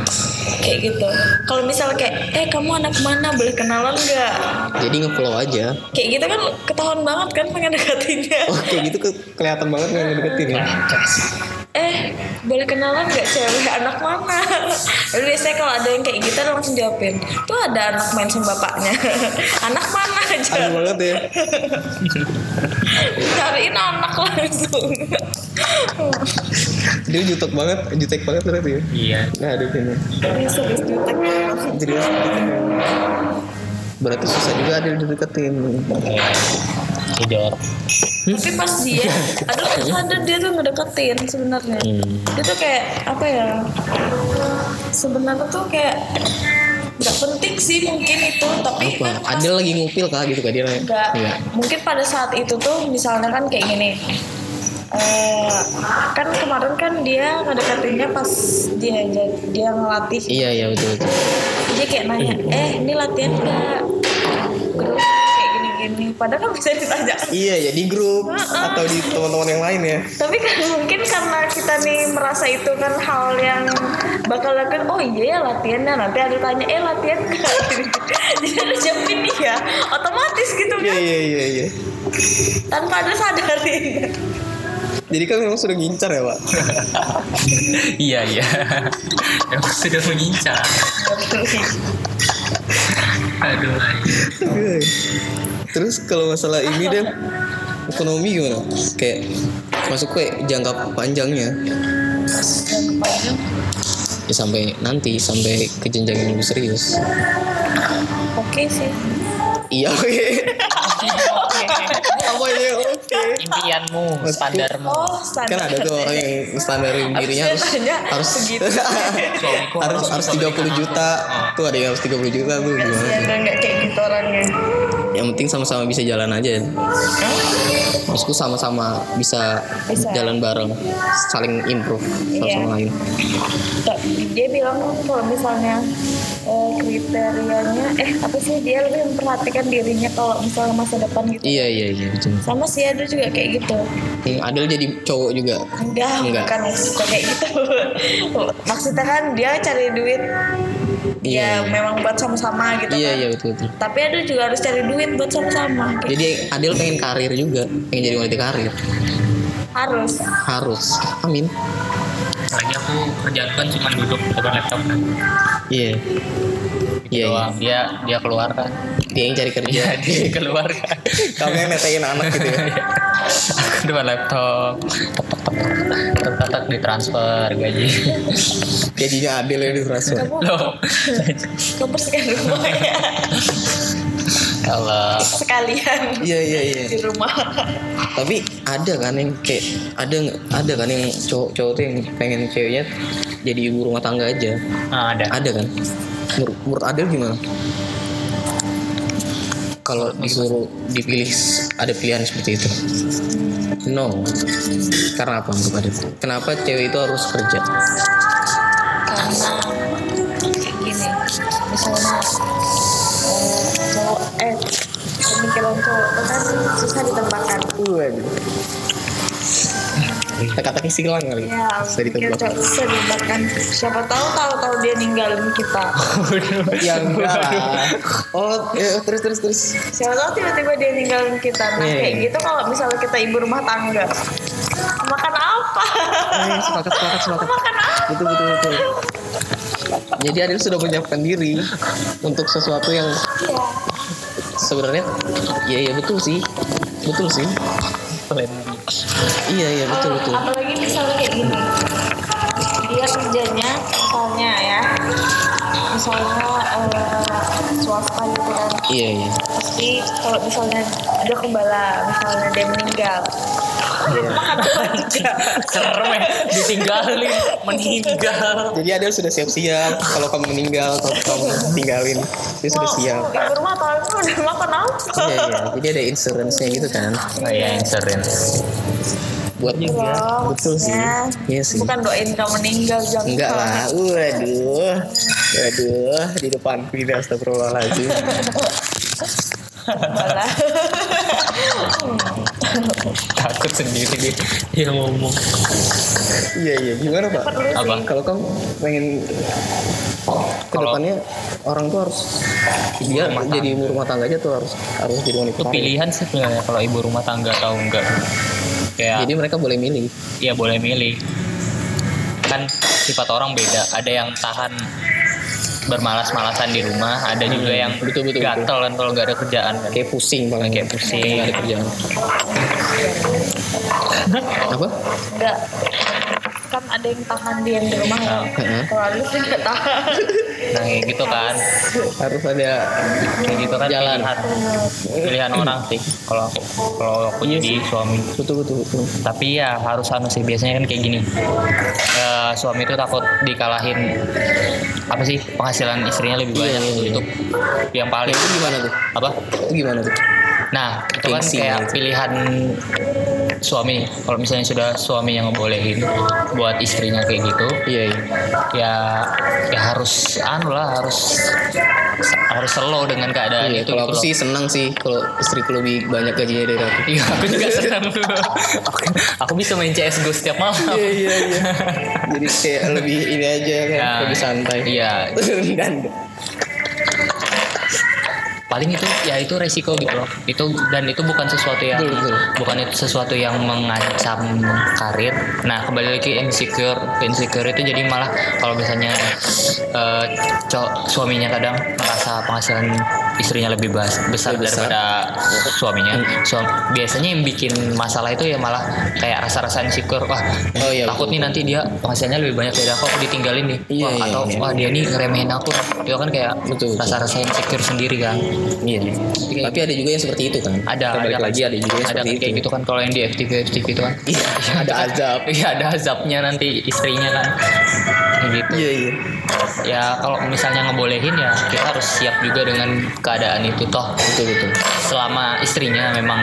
[SPEAKER 3] kayak gitu kalau misalnya kayak eh kamu anak mana boleh kenalan nggak
[SPEAKER 1] jadi ngeflow aja
[SPEAKER 3] kayak gitu kan ketahuan banget kan mengedekatinya
[SPEAKER 1] oh kayak gitu ke- kelihatan banget nggak ngedeketin ya
[SPEAKER 3] eh boleh kenalan nggak cewek anak mana lalu biasanya kalau ada yang kayak gitu langsung jawabin tuh ada anak main sama bapaknya anak mana aja
[SPEAKER 1] aneh banget ya
[SPEAKER 3] cariin anak langsung
[SPEAKER 1] dia jutek banget jutek banget berarti ya
[SPEAKER 2] iya
[SPEAKER 1] nah aduh ini
[SPEAKER 3] Ini serius jutek.
[SPEAKER 1] jadi berarti susah juga ada yang dideketin
[SPEAKER 2] tidur
[SPEAKER 3] tapi pas dia ada ada dia tuh ngedeketin sebenarnya
[SPEAKER 1] Hmm.
[SPEAKER 3] dia tuh kayak apa ya sebenarnya tuh kayak nggak penting sih mungkin itu tapi
[SPEAKER 1] apa
[SPEAKER 3] kan pas-
[SPEAKER 1] Adel lagi ngupil kah gitu kah dia
[SPEAKER 3] nggak mungkin pada saat itu tuh misalnya kan kayak gini Eh, kan kemarin kan dia ngedekatinnya pas dia dia ngelatih
[SPEAKER 1] iya iya betul betul
[SPEAKER 3] dia kayak nanya eh ini latihan nggak terus kayak gini-gini padahal kan bisa ditanya
[SPEAKER 1] iya ya di grup
[SPEAKER 3] Heeh.
[SPEAKER 1] atau di teman-teman yang lain ya
[SPEAKER 3] tapi kan mungkin karena kita nih merasa itu kan hal yang bakal lakukan oh iya ya latihannya nanti ada tanya eh latihan nggak?" jadi harus jawabin iya otomatis gitu
[SPEAKER 1] iya
[SPEAKER 3] kan
[SPEAKER 1] iya iya iya
[SPEAKER 3] tanpa ada sadarin
[SPEAKER 1] jadi kan memang sudah ngincar ya pak
[SPEAKER 2] iya iya emang sudah mengincar aduh
[SPEAKER 1] terus kalau masalah ini deh ekonomi gimana kayak masuk ke jangka panjangnya ya sampai nanti sampai ke jenjang yang lebih serius
[SPEAKER 3] oke sih
[SPEAKER 1] iya oke apa ya oke
[SPEAKER 2] impianmu
[SPEAKER 1] Maksudku-
[SPEAKER 2] standarmu
[SPEAKER 3] oh
[SPEAKER 1] kan
[SPEAKER 3] standar
[SPEAKER 1] ada tuh orang yang standarin dirinya harus
[SPEAKER 3] Harus dia tanya
[SPEAKER 1] harus
[SPEAKER 3] segitu.
[SPEAKER 2] Suamiku
[SPEAKER 1] harus harus
[SPEAKER 2] harus bisa
[SPEAKER 1] 30 juta tuh ada yang harus 30 juta tuh gimana
[SPEAKER 3] Kasihan
[SPEAKER 1] tuh?
[SPEAKER 3] kan nggak kayak gitu orangnya
[SPEAKER 1] yang penting sama-sama bisa jalan aja ya maksudku sama-sama bisa,
[SPEAKER 3] Bisa.
[SPEAKER 1] jalan bareng saling improve satu
[SPEAKER 3] Iya.
[SPEAKER 1] sama lain
[SPEAKER 3] Tak, dia bilang kan kalau misalnya eh, kriterianya eh apa sih dia lebih memperhatikan dirinya kalau misalnya masa depan gitu
[SPEAKER 1] iya iya iya betul.
[SPEAKER 3] sama sih ada juga kayak gitu
[SPEAKER 1] Hmm, Adel jadi cowok juga
[SPEAKER 3] enggak,
[SPEAKER 1] Enggak.
[SPEAKER 3] bukan suka kayak gitu maksudnya kan dia cari duit
[SPEAKER 1] Iya,
[SPEAKER 3] dia
[SPEAKER 1] iya.
[SPEAKER 3] memang buat sama-sama gitu
[SPEAKER 1] iya
[SPEAKER 3] kan
[SPEAKER 1] iya betul betul
[SPEAKER 3] tapi ada juga harus cari duit buat sama-sama Kayak
[SPEAKER 1] jadi Adel pengen karir juga pengen jadi wanita karir
[SPEAKER 3] harus
[SPEAKER 1] harus amin
[SPEAKER 2] lagi aku kerjaan kan cuma duduk di depan laptop kan
[SPEAKER 1] iya iya
[SPEAKER 2] Gitu
[SPEAKER 1] iya.
[SPEAKER 2] doang. dia dia keluar kan
[SPEAKER 1] dia yang cari kerja
[SPEAKER 2] dia, dia keluar kan
[SPEAKER 1] Iya, kamu yang netain anak gitu ya
[SPEAKER 2] aku depan laptop tek tek tek ditransfer gaji
[SPEAKER 1] gajinya ya, Adel yang ditransfer
[SPEAKER 3] kamu
[SPEAKER 2] loh
[SPEAKER 3] kebersihan rumah ya
[SPEAKER 2] Allah
[SPEAKER 3] sekalian
[SPEAKER 1] iya iya iya
[SPEAKER 3] di rumah
[SPEAKER 1] tapi ada kan yang kayak ada nggak- ada kan yang cowok-cowok tuh yang pengen ceweknya jadi ibu rumah tangga aja
[SPEAKER 2] nah, ada
[SPEAKER 1] ada kan Menur- menurut Adel gimana kalau disuruh dipilih s- ada pilihan seperti itu no karena apa menurut Adel kenapa cewek itu harus kerja
[SPEAKER 3] eh pemikiran cowok itu kan susah ditembakkan
[SPEAKER 1] Waduh. Kata-katanya silang kali.
[SPEAKER 3] ya
[SPEAKER 1] Saya
[SPEAKER 3] pemikiran
[SPEAKER 1] ditembak.
[SPEAKER 3] cowok susah ditembakkan siapa tahu tahu-tahu dia ninggalin kita
[SPEAKER 1] Ya enggak lah. Oh, eh, terus terus terus.
[SPEAKER 3] siapa tahu tiba-tiba dia ninggalin kita nah
[SPEAKER 1] Iya.
[SPEAKER 3] kayak gitu kalau misalnya kita ibu rumah tangga makan apa
[SPEAKER 1] Eh, sepakat sepakat sepakat.
[SPEAKER 3] makan apa
[SPEAKER 1] Betul betul betul. Jadi Adil sudah menyiapkan diri untuk sesuatu yang
[SPEAKER 3] Iya.
[SPEAKER 1] sebenarnya ya ya betul sih. Betul sih.
[SPEAKER 2] Plan B.
[SPEAKER 1] Iya iya betul betul.
[SPEAKER 3] Apalagi misalnya kayak gini, dia kerjanya misalnya ya, misalnya eh, swasta gitu kan.
[SPEAKER 1] Iya iya.
[SPEAKER 3] Tapi kalau misalnya ada kembala, misalnya dia meninggal,
[SPEAKER 1] Iya.
[SPEAKER 3] dia makan apa juga.
[SPEAKER 2] serem ya ditinggalin meninggal
[SPEAKER 1] Jadi Adil sudah siap-siap kalau kamu meninggal atau kamu tinggalin dia sudah siap.
[SPEAKER 3] Wah, Ibu rumah tangga udah makan apa?
[SPEAKER 1] Iya iya. Jadi ada insurance-nya gitu kan.
[SPEAKER 2] oh iya insurance
[SPEAKER 1] Buat
[SPEAKER 3] Loh,
[SPEAKER 1] Iya, Betul sih.
[SPEAKER 3] Iya, maksudnya
[SPEAKER 1] Iya sih.
[SPEAKER 3] Bukan doain kamu meninggal jangan.
[SPEAKER 1] Enggak lah, waduh, waduh, di depan kita astagfirullahaladzim.
[SPEAKER 3] Malah.
[SPEAKER 2] takut sendiri dia, dia ngomong
[SPEAKER 1] iya iya, gimana pak?
[SPEAKER 3] Perlu sih.
[SPEAKER 2] Apa?
[SPEAKER 1] Kalau kamu pengen
[SPEAKER 2] Kalau-
[SPEAKER 1] kedepannya orang tuh harus dia
[SPEAKER 2] rumah
[SPEAKER 1] jadi ibu rumah tangga aja tuh harus harus jadi wanita.
[SPEAKER 2] itu
[SPEAKER 1] karir.
[SPEAKER 2] pilihan sih sebenarnya kalau ibu rumah tangga atau enggak kayak
[SPEAKER 1] Jadi mereka boleh milih.
[SPEAKER 2] ya boleh milih kan sifat orang beda ada yang tahan bermalas-malasan di rumah ada juga yang
[SPEAKER 1] Hmm. betul, betul,
[SPEAKER 2] gatel kan kalau nggak ada kerjaan kan
[SPEAKER 1] Kayak pusing paling
[SPEAKER 2] Kayak pusing.
[SPEAKER 1] Nggak ada kerjaan. Apa?
[SPEAKER 3] Enggak kan ada yang tahan dia yang di rumah ya.
[SPEAKER 1] Heeh.
[SPEAKER 3] Kalau ada sih nggak tahan.
[SPEAKER 2] nah kayak gitu kan
[SPEAKER 1] Harus ada.
[SPEAKER 2] kayak gitu kan
[SPEAKER 1] Jalan. Hmm.
[SPEAKER 2] pilihan pilihan orang sih kalau aku kalau aku
[SPEAKER 1] Iya
[SPEAKER 2] jadi suami
[SPEAKER 1] Betul betul. betul.
[SPEAKER 2] tapi ya harus anu sih biasanya kan kayak gini Eh, suami itu takut dikalahin apa sih penghasilan istrinya
[SPEAKER 1] Iya,
[SPEAKER 2] lebih
[SPEAKER 1] iya,
[SPEAKER 2] banyak
[SPEAKER 1] iya.
[SPEAKER 2] itu yang
[SPEAKER 1] Nah,
[SPEAKER 2] paling
[SPEAKER 1] itu gimana tuh?
[SPEAKER 2] apa
[SPEAKER 1] Itu gimana tuh?
[SPEAKER 2] nah itu kan
[SPEAKER 1] Gengsi
[SPEAKER 2] kayak
[SPEAKER 1] gitu.
[SPEAKER 2] pilihan suami kalau misalnya sudah suami yang ngebolehin buat istrinya kayak gitu
[SPEAKER 1] Iya iya.
[SPEAKER 2] ya ya harus anu lah harus harus slow dengan keadaan
[SPEAKER 1] Iya,
[SPEAKER 2] itu
[SPEAKER 1] kalau
[SPEAKER 2] gitu
[SPEAKER 1] aku
[SPEAKER 2] loh.
[SPEAKER 1] sih senang sih kalau istriku lebih banyak gajinya dari aku.
[SPEAKER 2] Iya, aku juga senang. aku, aku bisa main CSGO setiap malam.
[SPEAKER 1] Iya iya iya. Jadi kayak lebih ini aja kan,
[SPEAKER 2] Ya,
[SPEAKER 1] lebih santai.
[SPEAKER 2] Iya,
[SPEAKER 1] Dan
[SPEAKER 2] paling itu ya itu resiko gitu loh. Itu dan itu bukan sesuatu yang
[SPEAKER 1] Betul, betul.
[SPEAKER 2] bukan itu sesuatu yang mengancam karir. Nah, kembali lagi insecure, insecure itu jadi malah kalau misalnya eh, cow- suaminya kadang merasa penghasilan istrinya lebih bas- besar,
[SPEAKER 1] Lebih besar. Hmm.
[SPEAKER 2] daripada suaminya. Suam- biasanya yang bikin masalah itu ya malah kayak rasa-rasa insecure. Wah,
[SPEAKER 1] Oh, iya,
[SPEAKER 2] takut nih nanti dia penghasilannya lebih banyak dari aku, aku ditinggalin nih.
[SPEAKER 1] Iya,
[SPEAKER 2] Wah,
[SPEAKER 1] iya,
[SPEAKER 2] atau
[SPEAKER 1] iya.
[SPEAKER 2] wah dia nih ngeremehin aku. Itu kan kayak
[SPEAKER 1] Betul, betul.
[SPEAKER 2] rasa-rasa insecure sendiri kan.
[SPEAKER 1] iya. Tapi ada juga yang seperti itu kan.
[SPEAKER 2] ada
[SPEAKER 1] Kita balik
[SPEAKER 2] kan
[SPEAKER 1] lagi ada juga yang
[SPEAKER 2] ada
[SPEAKER 1] seperti
[SPEAKER 2] kan kayak
[SPEAKER 1] itu.
[SPEAKER 2] gitu kan kalau yang di FTV FTV itu kan
[SPEAKER 1] Iya, ada azab.
[SPEAKER 2] iya ada azabnya nanti istrinya kan Kayak gitu
[SPEAKER 1] Iya iya.
[SPEAKER 2] ya kalau misalnya ngebolehin ya kita harus siap juga dengan keadaan itu toh
[SPEAKER 1] Betul betul.
[SPEAKER 2] selama istrinya memang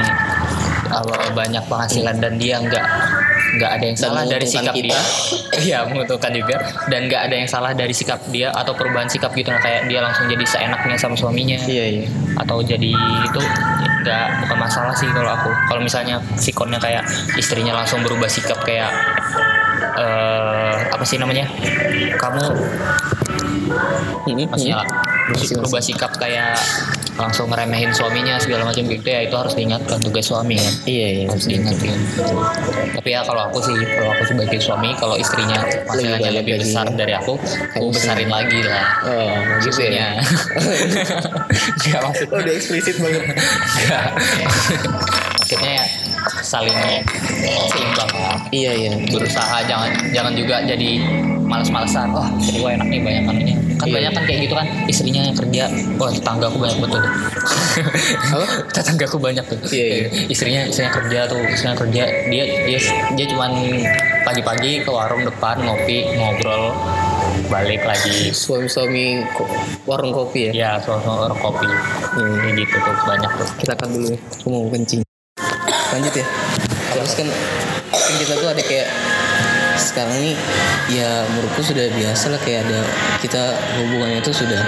[SPEAKER 2] uh, banyak penghasilan dan dia nggak nggak ada yang
[SPEAKER 1] Dan
[SPEAKER 2] salah dari
[SPEAKER 1] menguntungkan
[SPEAKER 2] sikap
[SPEAKER 1] kita.
[SPEAKER 2] dia iya menguntungkan juga dan nggak ada yang salah dari sikap dia atau perubahan sikap gitu nah, kayak dia langsung jadi seenaknya sama suaminya
[SPEAKER 1] Iya iya.
[SPEAKER 2] atau jadi itu nggak bukan masalah sih kalau aku kalau misalnya sikonnya kayak istrinya langsung berubah sikap kayak eh apa sih namanya kamu
[SPEAKER 1] Ini
[SPEAKER 2] maksudnya
[SPEAKER 1] Iya. Masih,
[SPEAKER 2] berubah sikap kayak langsung ngeremehin suaminya segala macam gitu ya itu harus diingatkan tugas suami kan
[SPEAKER 1] Iya iya.
[SPEAKER 2] harus diingatkan tapi ya kalau aku sih kalau aku sebagai suami kalau istrinya penghasilannya
[SPEAKER 1] banyak
[SPEAKER 2] lebih besar
[SPEAKER 1] gajinya.
[SPEAKER 2] dari aku aku
[SPEAKER 1] Harus.
[SPEAKER 2] besarin lagi lah
[SPEAKER 1] Oh, gitu ya.
[SPEAKER 2] maksudnya nggak maksud
[SPEAKER 1] Oh, udah eksplisit banget.
[SPEAKER 2] Enggak. Maksudnya ya saling seimbang lah.
[SPEAKER 1] iya iya.
[SPEAKER 2] Berusaha jangan jangan juga jadi malas-malasan. Wah, jadi gua enak nih banyak kanannya. Kan
[SPEAKER 1] Iya.
[SPEAKER 2] banyak kan kayak gitu kan istrinya yang kerja. Wah, tetangga aku banyak betul.
[SPEAKER 1] Apa?
[SPEAKER 2] tetangga aku banyak tuh.
[SPEAKER 1] Iya, iya.
[SPEAKER 2] Istrinya istrinya kerja tuh, istrinya kerja. Dia dia dia cuman pagi-pagi ke warung depan ngopi, ngobrol, balik lagi.
[SPEAKER 1] Suami-suami ko- warung kopi ya.
[SPEAKER 2] Ya, soal-soal orang kopi. Kayak gitu tuh banyak tuh.
[SPEAKER 1] kita cut dulu ya aku mau kencing lanjut ya terus kan, kan kita tuh ada kayak sekarang ini ya menurutku sudah biasa lah kayak ada kita hubungannya itu sudah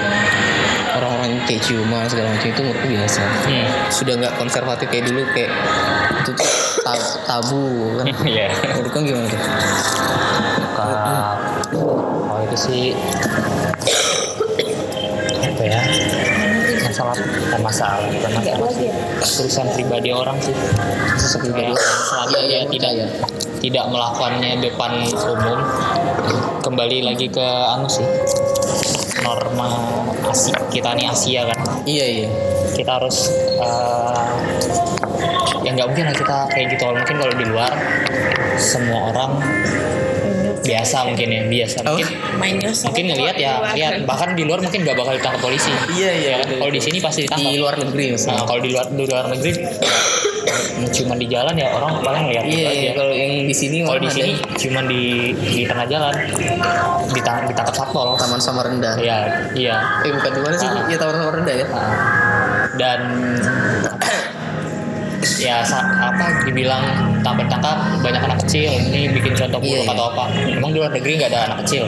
[SPEAKER 1] orang-orang yang kayak ciuman segala macam itu menurutku biasa
[SPEAKER 2] Hmm.
[SPEAKER 1] sudah nggak konservatif kayak dulu kayak itu tuh tab- tabu kan
[SPEAKER 2] Iya.
[SPEAKER 1] menurut kamu gimana tuh
[SPEAKER 2] Lengkap. Kalau Oh, itu sih apa ya masalah bukan masalah bukan
[SPEAKER 3] Kayak
[SPEAKER 1] Iya
[SPEAKER 2] masalah
[SPEAKER 3] lagi ya.
[SPEAKER 2] urusan pribadi orang sih urusan pribadi orang selama dia tidak tidak melakukannya depan umum kembali lagi ke anu sih norma Asia kita nih Asia kan
[SPEAKER 1] iya iya
[SPEAKER 2] kita harus eh, ya nggak mungkin lah kita kayak gitu kalau mungkin kalau di luar semua orang biasa mungkin ya biasa
[SPEAKER 1] Oh.
[SPEAKER 2] mungkin
[SPEAKER 4] Main yourself.
[SPEAKER 2] mungkin ngelihat ya lihat bahkan di luar mungkin nggak bakal ditangkap polisi
[SPEAKER 1] Iya, iya,
[SPEAKER 2] Ya kan?
[SPEAKER 1] betul.
[SPEAKER 2] kalau di sini pasti ditangkap
[SPEAKER 1] di luar negeri
[SPEAKER 2] Nah,
[SPEAKER 1] misalnya
[SPEAKER 2] kalau di luar di luar negeri cuman di jalan ya orang paling lihat
[SPEAKER 1] iya iya
[SPEAKER 2] aja.
[SPEAKER 1] kalau yang di sini
[SPEAKER 2] Kalau di
[SPEAKER 1] malah
[SPEAKER 2] sini
[SPEAKER 1] ada
[SPEAKER 2] cuman di di tengah jalan ditang, ditangkap satpol.
[SPEAKER 1] taman Samarinda
[SPEAKER 2] Iya, iya.
[SPEAKER 1] eh bukan di mana sih
[SPEAKER 2] Ah.
[SPEAKER 1] ya taman Samarinda ya
[SPEAKER 2] Nah, Dan ya sa- apa dibilang tak bertangkap banyak anak kecil ini bikin contoh buruk
[SPEAKER 1] Iya, iya.
[SPEAKER 2] atau apa emang di luar negeri nggak ada anak kecil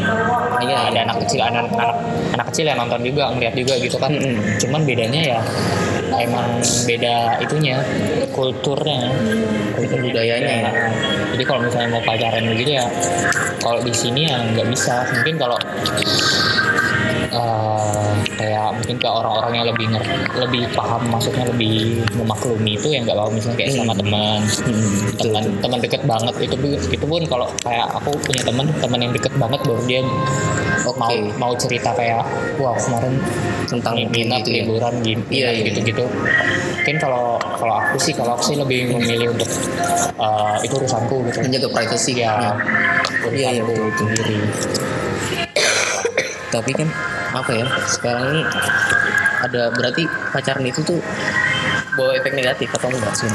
[SPEAKER 1] Iya,
[SPEAKER 2] ada anak kecil anak anak anak kecil yang nonton juga melihat juga gitu kan
[SPEAKER 1] Mm-mm.
[SPEAKER 2] cuman bedanya ya emang beda itunya kulturnya
[SPEAKER 1] Kultur budayanya ya.
[SPEAKER 2] Nah, jadi kalau misalnya mau pacaran gitu ya kalau di sini ya nggak bisa mungkin kalau eh, kayak mungkin ke orang-orang yang lebih nger lebih paham maksudnya lebih memaklumi itu yang nggak paham misalnya kayak
[SPEAKER 1] Hmm.
[SPEAKER 2] sama teman teman teman deket banget itu itu pun kalau kayak aku punya teman teman yang deket banget baru dia
[SPEAKER 1] Oke.
[SPEAKER 2] mau mau cerita kayak wah kemarin
[SPEAKER 1] tentang
[SPEAKER 2] minat
[SPEAKER 1] gitu ya.
[SPEAKER 2] liburan gitu
[SPEAKER 1] Iya, iya.
[SPEAKER 2] gitu gitu mungkin kalau kalau aku sih kalau aku sih lebih memilih untuk eh, itu urusanku gitu
[SPEAKER 1] menjaga privacy
[SPEAKER 2] ya
[SPEAKER 1] ya. Iya, iya,
[SPEAKER 2] urusanku sendiri
[SPEAKER 1] tapi kan apa ya sekarang ini ada berarti pacaran itu tuh bawa efek negatif atau enggak sih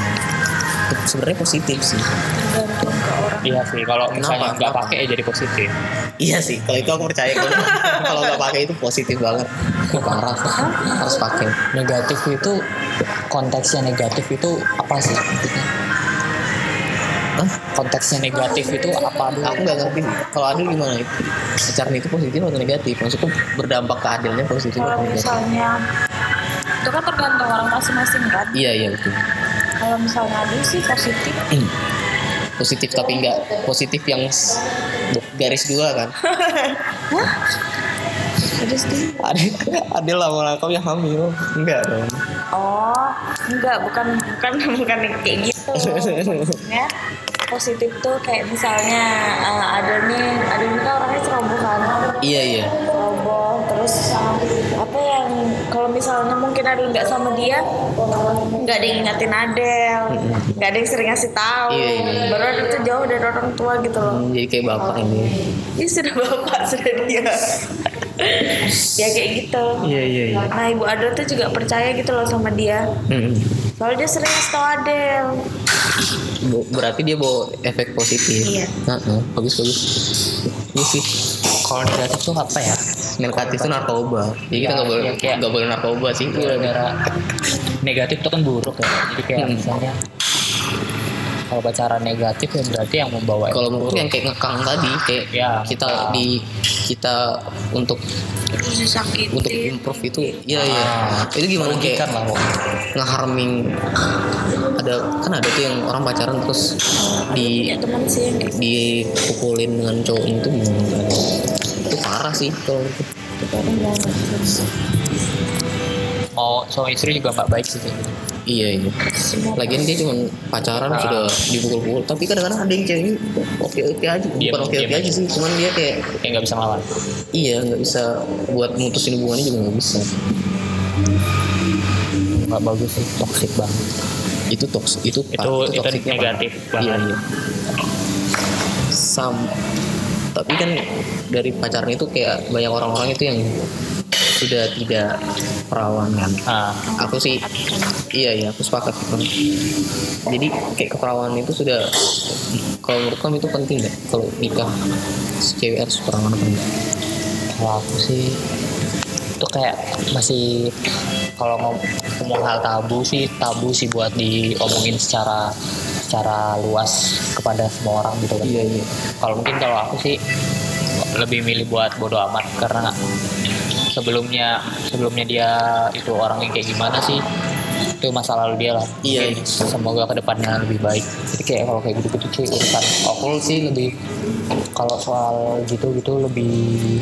[SPEAKER 1] sebenarnya positif sih
[SPEAKER 3] Tergantung ke orang.
[SPEAKER 2] iya sih kalau
[SPEAKER 1] Kenapa?
[SPEAKER 2] misalnya nggak
[SPEAKER 1] Kenapa?
[SPEAKER 2] pakai ya jadi positif
[SPEAKER 1] iya sih kalau itu aku percaya kalau kalau nggak pakai itu positif banget parah harus pakai
[SPEAKER 2] negatif itu konteksnya negatif itu apa sih
[SPEAKER 1] Hah?
[SPEAKER 2] konteksnya negatif itu apa dulu
[SPEAKER 1] aku nggak ngerti kalau adil gimana itu pacaran itu positif atau negatif maksudku berdampak ke adilnya positif
[SPEAKER 3] Kalau
[SPEAKER 1] atau negatif
[SPEAKER 3] misalnya itu kan tergantung orang masing-masing kan.
[SPEAKER 1] iya iya betul
[SPEAKER 3] Kalau misalnya ada sih positif.
[SPEAKER 1] positif tapi nggak positif yang s- garis dua kan
[SPEAKER 3] Jadi sih.
[SPEAKER 1] Adil, Adil lama kau yang ya, hamil enggak dong
[SPEAKER 3] Oh, enggak, bukan bukan bukan yang kayak gitu. Maksudnya positif tuh kayak misalnya eh, ada nih, ada nih kan orangnya ceroboh kan.
[SPEAKER 1] iya iya
[SPEAKER 3] Ceroboh, terus eh, apa yang kalau misalnya mungkin ada nggak sama dia, nggak ada yang ingatin Adel, nggak ada yang sering ngasih tahu.
[SPEAKER 1] Iya, iya, iya.
[SPEAKER 3] Baru ada tuh jauh dari orang tua gitu loh.
[SPEAKER 1] Hmm, jadi kayak bapak ini
[SPEAKER 3] Ini sudah bapak sudah dia. ya kayak gitu.
[SPEAKER 1] iya iya iya
[SPEAKER 3] Nah, Ibu Adel tuh juga percaya gitu loh sama dia.
[SPEAKER 1] Mm-mm.
[SPEAKER 3] Soalnya dia sering ngasih tau Adel.
[SPEAKER 1] Bu- berarti dia bawa efek positif
[SPEAKER 3] Iya.
[SPEAKER 1] Heeh, bagus bagus iya sih
[SPEAKER 2] kalau negatif itu apa ya
[SPEAKER 1] negatif itu narkoba jadi kita
[SPEAKER 2] Iya,
[SPEAKER 1] nggak boleh
[SPEAKER 2] iya, kayak-
[SPEAKER 1] nggak boleh narkoba sih
[SPEAKER 2] gara-gara Iya, negatif itu kan buruk ya jadi kayak
[SPEAKER 1] Hmm.
[SPEAKER 2] misalnya kalau pacaran negatif ya berarti yang membawa
[SPEAKER 1] kalau
[SPEAKER 2] yang
[SPEAKER 1] menurut
[SPEAKER 2] buruk.
[SPEAKER 1] yang kayak ngekang tadi kayak
[SPEAKER 2] Iya,
[SPEAKER 1] kita
[SPEAKER 2] ngekang.
[SPEAKER 1] di kita untuk
[SPEAKER 3] Terus disakitin.
[SPEAKER 1] untuk improve itu iya iya
[SPEAKER 2] Ah,
[SPEAKER 1] itu gimana
[SPEAKER 2] merugikan
[SPEAKER 1] kayak
[SPEAKER 2] lah kok.
[SPEAKER 1] ngeharming ada kan ada tuh yang orang pacaran terus di
[SPEAKER 3] Punya teman sih yang kayak gitu.
[SPEAKER 1] dipukulin dengan cowok itu gimana itu parah sih kalau gitu. itu
[SPEAKER 3] Orang banget.
[SPEAKER 2] mau suami istri juga nggak baik sih kayak gitu.
[SPEAKER 1] iya iya
[SPEAKER 3] Semua
[SPEAKER 1] lagian dia cuma pacaran
[SPEAKER 2] Ah.
[SPEAKER 1] sudah dipukul-pukul tapi kadang-kadang ada yang cewek oke oke aja
[SPEAKER 2] Diam-
[SPEAKER 1] bukan oke oke
[SPEAKER 2] diam
[SPEAKER 1] Iya, aja
[SPEAKER 2] aja.
[SPEAKER 1] sih cuman dia kayak
[SPEAKER 2] kayak nggak bisa ngelawan
[SPEAKER 1] iya nggak bisa buat mutusin hubungannya juga nggak bisa
[SPEAKER 2] nggak bagus sih toxic banget
[SPEAKER 1] itu toks itu
[SPEAKER 2] itu itu,
[SPEAKER 1] toksiknya
[SPEAKER 2] negatif
[SPEAKER 1] parah. iya
[SPEAKER 2] banget
[SPEAKER 1] iya sam tapi kan dari pacaran itu kayak banyak orang-orang itu yang sudah tidak perawan kan
[SPEAKER 2] Ah,
[SPEAKER 1] aku sih iya iya aku sepakat jadi kayak keperawanan itu sudah kalau menurut kamu itu penting nggak kalau nikah si cewek harus perawan apa enggak
[SPEAKER 2] kalau aku sih itu kayak masih kalau ngom- ngomong hal tabu sih tabu sih buat diomongin secara secara luas kepada semua orang gitu kan
[SPEAKER 1] Iya, iya.
[SPEAKER 2] kalau mungkin kalau aku sih lebih milih buat bodo amat karena sebelumnya sebelumnya dia itu orangnya kayak gimana sih itu masa lalu dia lah
[SPEAKER 1] Iya,
[SPEAKER 2] Mungkin semoga kedepannya lebih baik jadi kayak kalau kayak gitu-gitu sih urusan aku sih lebih kalau soal gitu-gitu lebih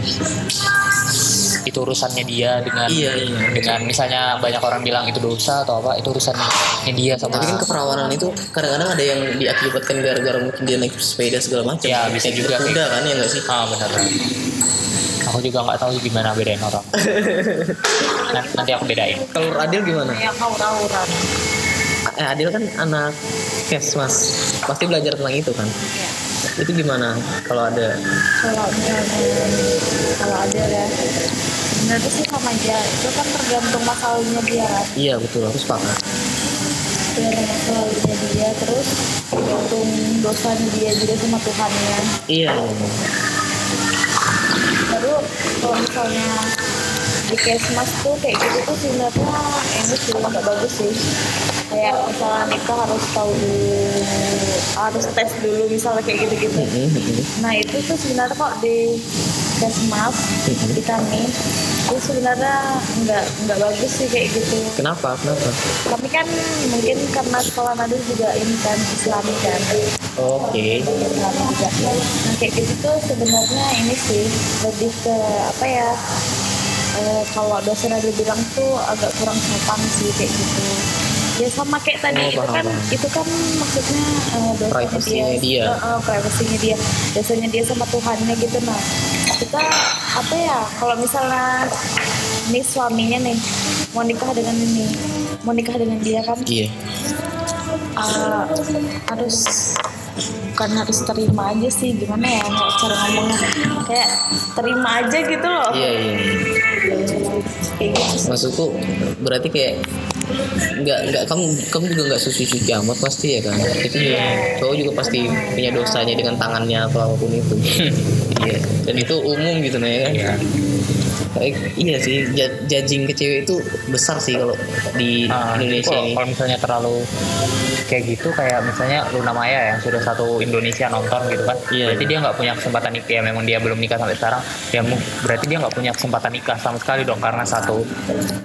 [SPEAKER 2] itu urusannya dia dengan
[SPEAKER 1] Iya, iya.
[SPEAKER 2] dengan misalnya banyak orang bilang itu dosa atau apa itu urusannya dia sama
[SPEAKER 1] Tapi kan keperawanan itu kadang-kadang ada yang diakibatkan gara-gara mungkin dia naik sepeda segala macam.
[SPEAKER 2] Ya, bisa juga kayak
[SPEAKER 1] Udah kan ya nggak Iya, sih?
[SPEAKER 2] Ah benar. Aku juga nggak tahu gimana bedain orang. Nanti, nanti aku bedain.
[SPEAKER 1] Kalau Adil gimana?
[SPEAKER 3] yang aura-aura
[SPEAKER 1] Eh, Adil kan anak kes mas, pasti belajar tentang itu kan.
[SPEAKER 3] Iya.
[SPEAKER 1] Itu gimana kalau ada?
[SPEAKER 3] kalau misalnya kalau ada ya sebenarnya sih sama aja itu kan tergantung masalahnya dia kan
[SPEAKER 1] Iya betul, aku sepakat.
[SPEAKER 3] tergantung masalahnya dia terus tergantung dosanya dia juga sama Tuhannya
[SPEAKER 1] Iya.
[SPEAKER 3] baru kalau misalnya di kesmas tuh kayak gitu tuh sebenarnya ini sih nggak bagus sih kayak misalnya nikah harus tahu dulu harus tes dulu misalnya kayak gitu-gitu Nah itu tuh sebenarnya kok di kesmas di kami itu sebenarnya nggak nggak bagus sih kayak gitu.
[SPEAKER 1] Kenapa? Kenapa?
[SPEAKER 3] Kami kan mungkin karena sekolah nadu juga ini kan Islami kan.
[SPEAKER 1] Oke.
[SPEAKER 3] Islami juga. Nah kayak gitu tuh sebenarnya ini sih lebih ke apa ya? eh, kalau dosen ada bilang tuh agak kurang sopan sih kayak gitu. Ya sama kayak tadi
[SPEAKER 1] Oh,
[SPEAKER 3] itu
[SPEAKER 1] paham,
[SPEAKER 3] kan
[SPEAKER 1] paham.
[SPEAKER 3] itu kan maksudnya eh, dosanya
[SPEAKER 1] Privasinya dia.
[SPEAKER 3] Eh, eh, privasinya dia biasanya dia sama Tuhannya gitu nah kita apa ya kalau misalnya ini suaminya nih mau nikah dengan ini mau nikah dengan dia kan
[SPEAKER 1] Iya.
[SPEAKER 3] eh, harus bukan harus terima aja sih gimana ya nggak cara ngomongnya kayak terima aja gitu loh
[SPEAKER 1] Iya iya.
[SPEAKER 3] kayak gitu sih.
[SPEAKER 1] Maksudku berarti kayak nggak nggak kamu kamu juga nggak suci suci amat pasti ya kan itu
[SPEAKER 2] Iya.
[SPEAKER 1] juga cowok juga pasti punya dosanya dengan tangannya atau apapun itu iya dan itu umum gitu nah ya
[SPEAKER 2] Iya.
[SPEAKER 1] kan Baik, iya sih ja- judging ke cewek itu besar sih kalau di
[SPEAKER 2] Ah,
[SPEAKER 1] Indonesia
[SPEAKER 2] kalau-
[SPEAKER 1] ini
[SPEAKER 2] Kalau misalnya terlalu kayak gitu, kayak misalnya Luna Maya yang sudah satu Indonesia nonton gitu kan,
[SPEAKER 1] Iya.
[SPEAKER 2] berarti dia nggak punya kesempatan nikah. Ya memang dia belum nikah sampai sekarang. Ya mu- berarti dia nggak punya kesempatan nikah sama sekali dong karena satu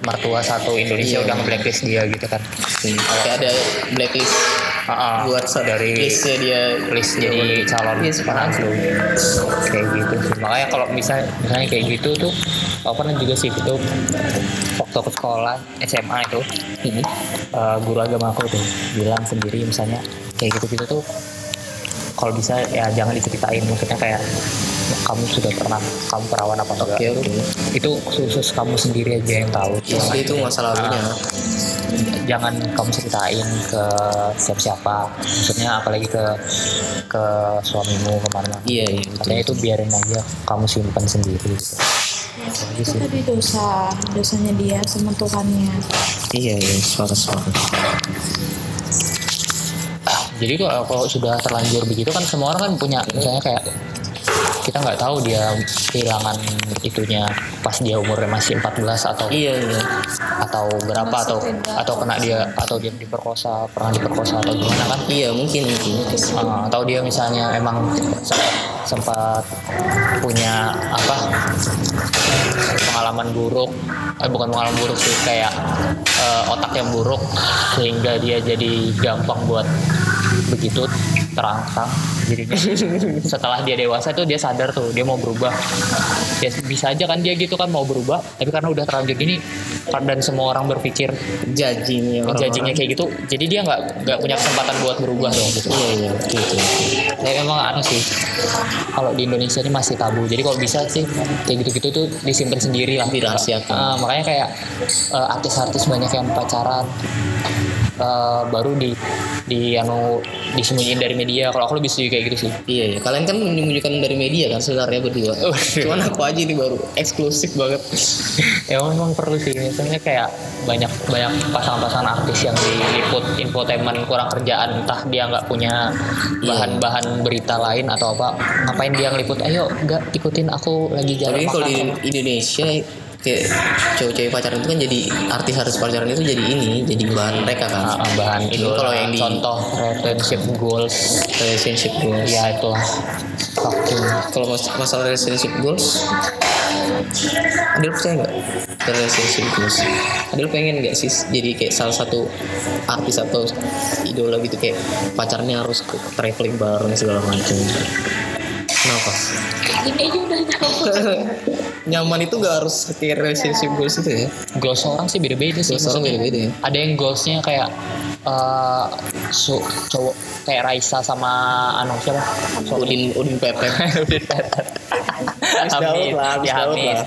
[SPEAKER 2] mertua satu
[SPEAKER 1] Iya.
[SPEAKER 2] Indonesia udah nge-blacklist dia gitu kan.
[SPEAKER 1] Hmm, kayak ada blacklist
[SPEAKER 2] Ah, ah,
[SPEAKER 1] buat se-
[SPEAKER 2] dari
[SPEAKER 1] listnya dia
[SPEAKER 2] list jadi calon Ah.
[SPEAKER 1] Iya, sepakat.
[SPEAKER 2] tuh kayak gitu sih makanya kalau misalnya misalnya kayak gitu tuh aku pernah juga sih itu waktu aku sekolah SMA itu
[SPEAKER 1] Hmm.
[SPEAKER 2] eh, guru agama aku tuh bilang sendiri misalnya kayak gitu gitu tuh kalau bisa ya jangan diceritain maksudnya kayak kamu sudah pernah kamu perawan apa enggak
[SPEAKER 1] Oke, oke.
[SPEAKER 2] itu khusus kamu sendiri aja Ah. yang tahu
[SPEAKER 1] Ya, jadi itu masa lalunya.
[SPEAKER 2] jangan kamu ceritain ke siapa-siapa maksudnya apalagi ke ke suamimu kemana
[SPEAKER 1] Iya, iya.
[SPEAKER 2] katanya itu biarin aja kamu simpan sendiri gitu.
[SPEAKER 1] Iya
[SPEAKER 3] itu tadi dosa dosanya dia sama Tuhannya
[SPEAKER 1] Iya, iya, sepakat, sepakat.
[SPEAKER 2] Oh. jadi kalau, kalau sudah terlanjur begitu kan semua orang kan punya misalnya kayak kita nggak tahu dia kehilangan itunya pas dia umurnya masih 14 atau
[SPEAKER 1] Iya, iya.
[SPEAKER 2] atau berapa atau atau kena dia atau dia diperkosa pernah diperkosa atau gimana kan
[SPEAKER 1] Iya, mungkin, mungkin.
[SPEAKER 2] Uh, atau dia misalnya emang se- sempat punya apa pengalaman buruk eh, bukan pengalaman buruk sih kayak eh, otak yang buruk sehingga dia jadi gampang buat begitu terangsang jadinya setelah dia dewasa tuh dia sadar tuh dia mau berubah ya bisa aja kan dia gitu kan mau berubah tapi karena udah terlanjur gini dan semua orang berpikir
[SPEAKER 1] Judgingnya. orang-orang.
[SPEAKER 2] judgingnya kayak gitu jadi dia nggak nggak punya kesempatan buat berubah dong gitu
[SPEAKER 1] Iya, iya, betul, betul.
[SPEAKER 2] saya memang anu sih kalau di Indonesia ini masih tabu jadi kalau bisa sih kayak gitu-gitu tuh disimpan sendiri lah
[SPEAKER 1] Dirahasiakan.
[SPEAKER 2] Ah, makanya kayak eh, artis-artis banyak yang pacaran eh, baru di di anu disembunyiin dari media kalau aku lebih setuju kayak gitu sih
[SPEAKER 1] Iya, iya. Kalian kan menyembunyikan dari media kan sebenarnya berdua. Cuman aku aja ini baru eksklusif banget.
[SPEAKER 2] ya memang perlu sih misalnya kayak banyak banyak pasangan-pasangan artis yang diliput infotainment kurang kerjaan entah dia nggak punya
[SPEAKER 1] Iya.
[SPEAKER 2] bahan-bahan berita lain atau apa ngapain dia ngeliput ayo Ya, nggak ikutin aku lagi jalan
[SPEAKER 1] Tapi kalau
[SPEAKER 2] makan
[SPEAKER 1] di Indonesia kayak cewek-cewek pacaran itu kan jadi artis harus pacaran itu jadi ini jadi bahan mereka kan
[SPEAKER 2] Ah, bahan
[SPEAKER 1] Jadi
[SPEAKER 2] itu
[SPEAKER 1] kalau yang di
[SPEAKER 2] contoh relationship goals
[SPEAKER 1] relationship goals
[SPEAKER 2] ya itulah
[SPEAKER 1] Oke. kalau mas masalah relationship goals Adil percaya nggak ke relationship goals Adil pengen nggak sih jadi kayak salah satu artis atau idola gitu kayak pacarnya harus ke- traveling bareng segala macam kenapa
[SPEAKER 3] Ini aja udah gitu. tahu.
[SPEAKER 1] nyaman itu gak harus kayak relationship goals itu ya
[SPEAKER 2] goals orang sih beda-beda sih
[SPEAKER 1] Goals orang
[SPEAKER 2] maksudnya.
[SPEAKER 1] beda-beda ya?
[SPEAKER 2] ada yang goalsnya kayak eh su- cowok kayak Raisa sama anu siapa Sorry.
[SPEAKER 1] Udin Udin Pepe
[SPEAKER 2] Udin Petet.
[SPEAKER 1] Daud
[SPEAKER 2] Amin.
[SPEAKER 1] lah, Hamis
[SPEAKER 2] ya
[SPEAKER 1] Daud
[SPEAKER 2] Amin.
[SPEAKER 1] lah.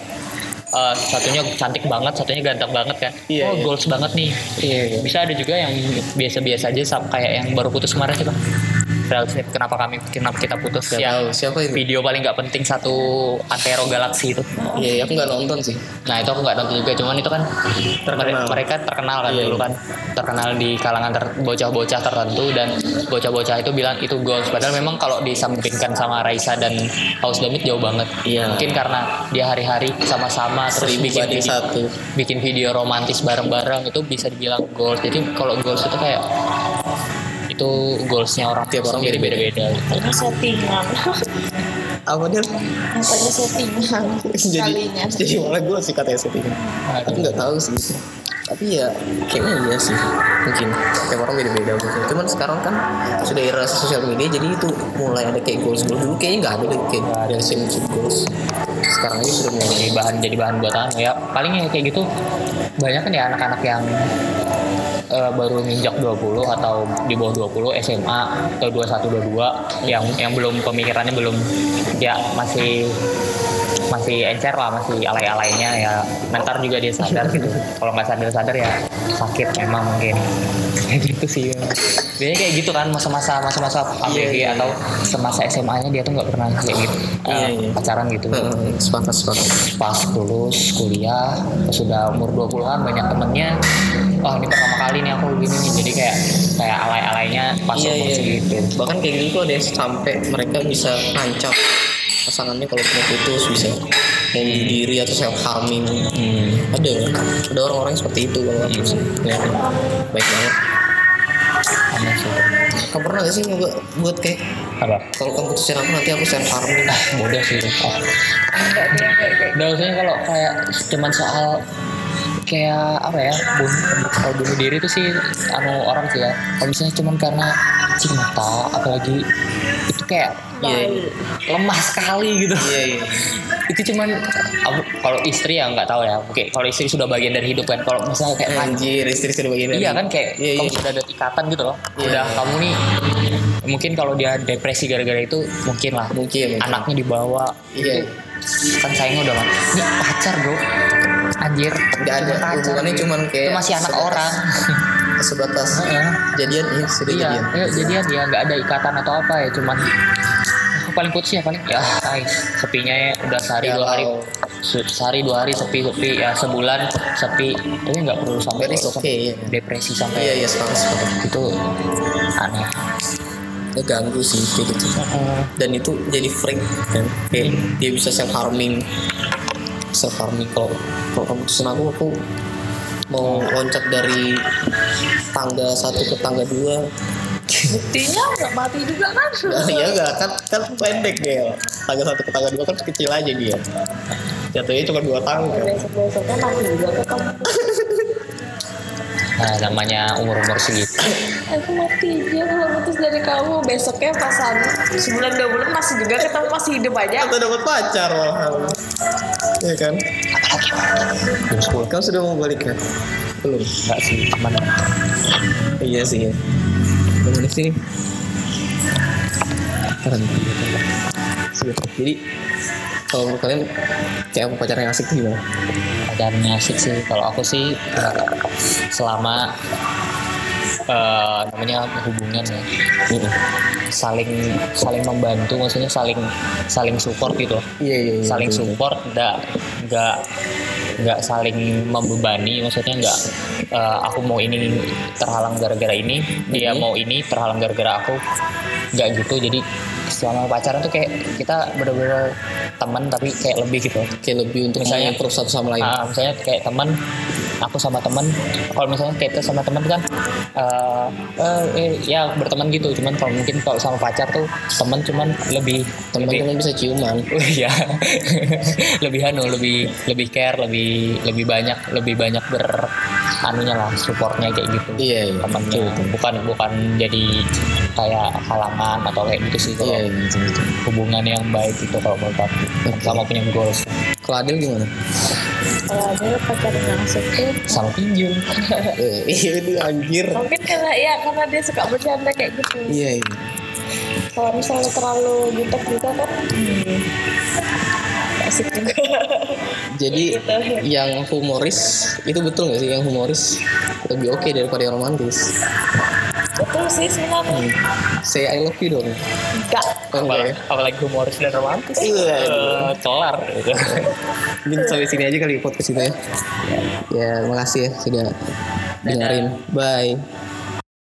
[SPEAKER 2] Eh, satunya cantik banget, satunya ganteng banget kan.
[SPEAKER 1] Iya,
[SPEAKER 2] oh,
[SPEAKER 1] iya.
[SPEAKER 2] goals banget nih.
[SPEAKER 1] Iya.
[SPEAKER 2] Bisa ada juga yang biasa-biasa aja sam- kayak yang baru putus kemarin sih, Bang. Relationship kenapa kami kenapa kita putus
[SPEAKER 1] Gak
[SPEAKER 2] ya.
[SPEAKER 1] tahu siapa itu.
[SPEAKER 2] Video paling nggak penting satu Antero Galaxy itu.
[SPEAKER 1] Iya, aku nggak nonton sih.
[SPEAKER 2] Nah itu aku nggak nonton juga, cuman itu kan
[SPEAKER 1] Terkenal.
[SPEAKER 2] mere- mereka terkenal kan
[SPEAKER 1] Iya.
[SPEAKER 2] dulu kan, terkenal di kalangan ter- bocah-bocah tertentu dan bocah-bocah itu bilang itu goals. Padahal memang kalau disampingkan sama Raisa dan House Damit jauh banget.
[SPEAKER 1] Iya.
[SPEAKER 2] Mungkin karena dia hari-hari sama-sama terus
[SPEAKER 1] Seribu
[SPEAKER 2] bikin
[SPEAKER 1] banding
[SPEAKER 2] video,
[SPEAKER 1] satu.
[SPEAKER 2] bikin video romantis bareng-bareng itu bisa dibilang goals. Jadi kalau goals itu kayak itu goalsnya orang
[SPEAKER 1] Tiap orang
[SPEAKER 2] sendiri beda-beda.
[SPEAKER 3] Ini settingan.
[SPEAKER 1] Apa dia?
[SPEAKER 3] Katanya settingan.
[SPEAKER 1] jadi
[SPEAKER 3] Sekalinya.
[SPEAKER 1] jadi malah gue sih katanya settingan.
[SPEAKER 2] Aduh.
[SPEAKER 1] Aku nggak tahu sih. Tapi ya kayaknya iya sih mungkin tiap orang beda-beda mungkin. Cuman sekarang kan sudah era sosial media jadi itu mulai ada kayak goals goals dulu kayaknya nggak ada deh kayak relationship goals. Sekarang ini sudah mulai
[SPEAKER 2] jadi bahan jadi bahan buat anu ya paling yang kayak gitu banyak kan ya anak-anak yang eh, baru nginjak 20 atau di bawah 20 SMA atau 21 22 yang yang belum pemikirannya belum ya masih masih encer lah masih alay-alaynya ya mentar juga dia sadar gitu kalau nggak sadar-sadar ya sakit memang mungkin kayak gitu sih biasanya kayak gitu kan masa-masa masa-masa ABG
[SPEAKER 1] Iya, iya.
[SPEAKER 2] atau semasa SMA-nya dia tuh nggak pernah kayak gitu eh,
[SPEAKER 1] Iya, iya.
[SPEAKER 2] pacaran gitu
[SPEAKER 1] Heeh, sepakat sepakat.
[SPEAKER 2] pas lulus kuliah sudah umur 20-an banyak temennya wah ini pertama kali nih aku begini nih jadi kayak kayak alay-alaynya pas
[SPEAKER 1] Iya,
[SPEAKER 2] umur
[SPEAKER 1] iya.
[SPEAKER 2] segitu
[SPEAKER 1] bahkan kayak gitu tuh ada yang sampai mereka bisa ngancam pasangannya kalau mau putus bisa mau bunuh diri atau self harming
[SPEAKER 2] Hmm,
[SPEAKER 1] ada kan ada orang-orang yang seperti itu kalau
[SPEAKER 2] iya
[SPEAKER 1] aku sih Ya, baik banget
[SPEAKER 2] Aneh iya, sih.
[SPEAKER 1] kamu pernah gak sih nyoba buat kayak
[SPEAKER 2] apa
[SPEAKER 1] kalau kamu putusin aku nanti aku self harming
[SPEAKER 2] bodoh sih oh. Nah, maksudnya kalau kayak cuman soal kayak apa ya bun, kalau bunuh diri itu sih anu orang sih ya kalau misalnya cuman karena cinta apalagi itu kayak
[SPEAKER 1] Iya, iya.
[SPEAKER 2] lemah sekali gitu
[SPEAKER 1] iya iya
[SPEAKER 2] itu cuman aku- kalau istri ya nggak tahu ya oke kalau istri sudah bagian dari hidup kan kalau misalnya kayak
[SPEAKER 1] anjir
[SPEAKER 2] anjing
[SPEAKER 1] istri sudah bagian dari
[SPEAKER 2] iya kan kayak
[SPEAKER 1] Hmm. iya
[SPEAKER 2] kamu
[SPEAKER 1] iya
[SPEAKER 2] sudah ada ikatan gitu loh
[SPEAKER 1] Iya,
[SPEAKER 2] udah
[SPEAKER 1] iya.
[SPEAKER 2] kamu nih mungkin kalau dia depresi gara-gara itu mungkin lah
[SPEAKER 1] Mungkin, iya. mungkin.
[SPEAKER 2] anaknya dibawa
[SPEAKER 1] Iya.
[SPEAKER 2] itu kan sayangnya udah lah ini pacar bro anjir
[SPEAKER 1] Nggak ada,
[SPEAKER 2] Cuma pacar.
[SPEAKER 1] hubungannya cuman kayak
[SPEAKER 2] itu masih anak
[SPEAKER 1] sebatas-
[SPEAKER 2] orang
[SPEAKER 1] sebatas
[SPEAKER 2] Heeh.
[SPEAKER 1] jadian iya sudah
[SPEAKER 2] iya
[SPEAKER 1] jadian
[SPEAKER 2] ayo jadian ya nggak ada ikatan atau apa ya cuman aku paling putus ya paling ya ay, sepinya ya udah sehari dua hari
[SPEAKER 1] Galau.
[SPEAKER 2] se- sehari dua hari sepi sepi ya sebulan sepi tapi nggak perlu sampai
[SPEAKER 1] That is okay, iya.
[SPEAKER 2] depresi sampai
[SPEAKER 1] iya iya sepakat sepakat
[SPEAKER 2] itu aneh
[SPEAKER 1] Ya, ganggu sih kayak gitu dan itu jadi freak kan kayak
[SPEAKER 2] Iya.
[SPEAKER 1] dia bisa self harming self harming kalau kalau kamu pesen aku aku mau loncat dari tangga satu ke tangga dua
[SPEAKER 3] Buktinya nggak mati juga kan?
[SPEAKER 1] ya enggak kan kan pendek dia tangga satu ke tangga dua kan kecil aja dia jatuhnya cuma dua tangga
[SPEAKER 3] Besok besoknya mati juga ke kamu.
[SPEAKER 2] nah namanya umur umur segitu
[SPEAKER 3] Aku mati aja kalau putus dari kamu. Besoknya pasan sebulan dua bulan masih juga ketemu masih hidup aja.
[SPEAKER 1] atau dapat pacar malah ya kan
[SPEAKER 2] jam sepuluh
[SPEAKER 1] kamu sudah mau balik kan belum
[SPEAKER 2] nggak sih mana
[SPEAKER 1] iya sih ya. Temen sini keren Sudah. Iya. jadi kalau menurut kalian kayak apa pacaran yang asik tuh gimana
[SPEAKER 2] pacarnya asik sih kalau aku sih eh, selama eh, namanya hubungan ya saling saling membantu maksudnya saling saling support gitu loh.
[SPEAKER 1] iya iya iya
[SPEAKER 2] saling
[SPEAKER 1] betul.
[SPEAKER 2] support nggak nggak nggak saling membebani maksudnya nggak eh, aku mau ini terhalang gara-gara ini dia
[SPEAKER 1] Mhm.
[SPEAKER 2] mau ini terhalang gara-gara aku nggak gitu jadi selama pacaran tuh kayak kita bener-bener teman tapi kayak lebih gitu
[SPEAKER 1] kayak lebih untuk
[SPEAKER 2] Misalnya-
[SPEAKER 1] mengukur satu sama lain
[SPEAKER 2] Ah, misalnya kayak teman aku sama teman kalau misalnya kita sama teman kan eh, eh, eh, ya berteman gitu cuman kalau mungkin kalau sama pacar tuh teman cuman lebih
[SPEAKER 1] teman
[SPEAKER 2] lebih-
[SPEAKER 1] cuma bisa ciuman
[SPEAKER 2] Iya, lebih anu, lebih lebih care, lebih lebih banyak, lebih banyak ber anunya lah, supportnya kayak gitu.
[SPEAKER 1] Iya, iya.
[SPEAKER 2] Temennya,
[SPEAKER 1] Betul, betul.
[SPEAKER 2] bukan bukan jadi kayak halangan atau kayak gitu sih kalau
[SPEAKER 1] iya gitu, gitu.
[SPEAKER 2] hubungan yang baik itu kalau menurut aku sama punya goals
[SPEAKER 1] kalau Adil gimana
[SPEAKER 3] kalau ada pacaran langsung tuh
[SPEAKER 2] sama pinjam
[SPEAKER 1] Eh, iya dia anjir
[SPEAKER 3] mungkin karena ya karena dia suka bercanda kayak gitu
[SPEAKER 1] iya iya
[SPEAKER 3] kalau misalnya terlalu jutek juga kan hmm, nggak asik juga
[SPEAKER 1] jadi
[SPEAKER 3] Gitu.
[SPEAKER 1] yang humoris itu betul nggak sih yang humoris lebih oke daripada yang romantis
[SPEAKER 3] betul sih sebenarnya
[SPEAKER 1] say I love you dong
[SPEAKER 3] enggak
[SPEAKER 1] kan
[SPEAKER 2] apalagi,
[SPEAKER 1] ya
[SPEAKER 2] apalagi humoris dan romantis
[SPEAKER 1] Iya.
[SPEAKER 2] Eh, kelar gitu.
[SPEAKER 1] mungkin sampai sini aja kali podcast kita ya ya makasih ya sudah dengerin ya bye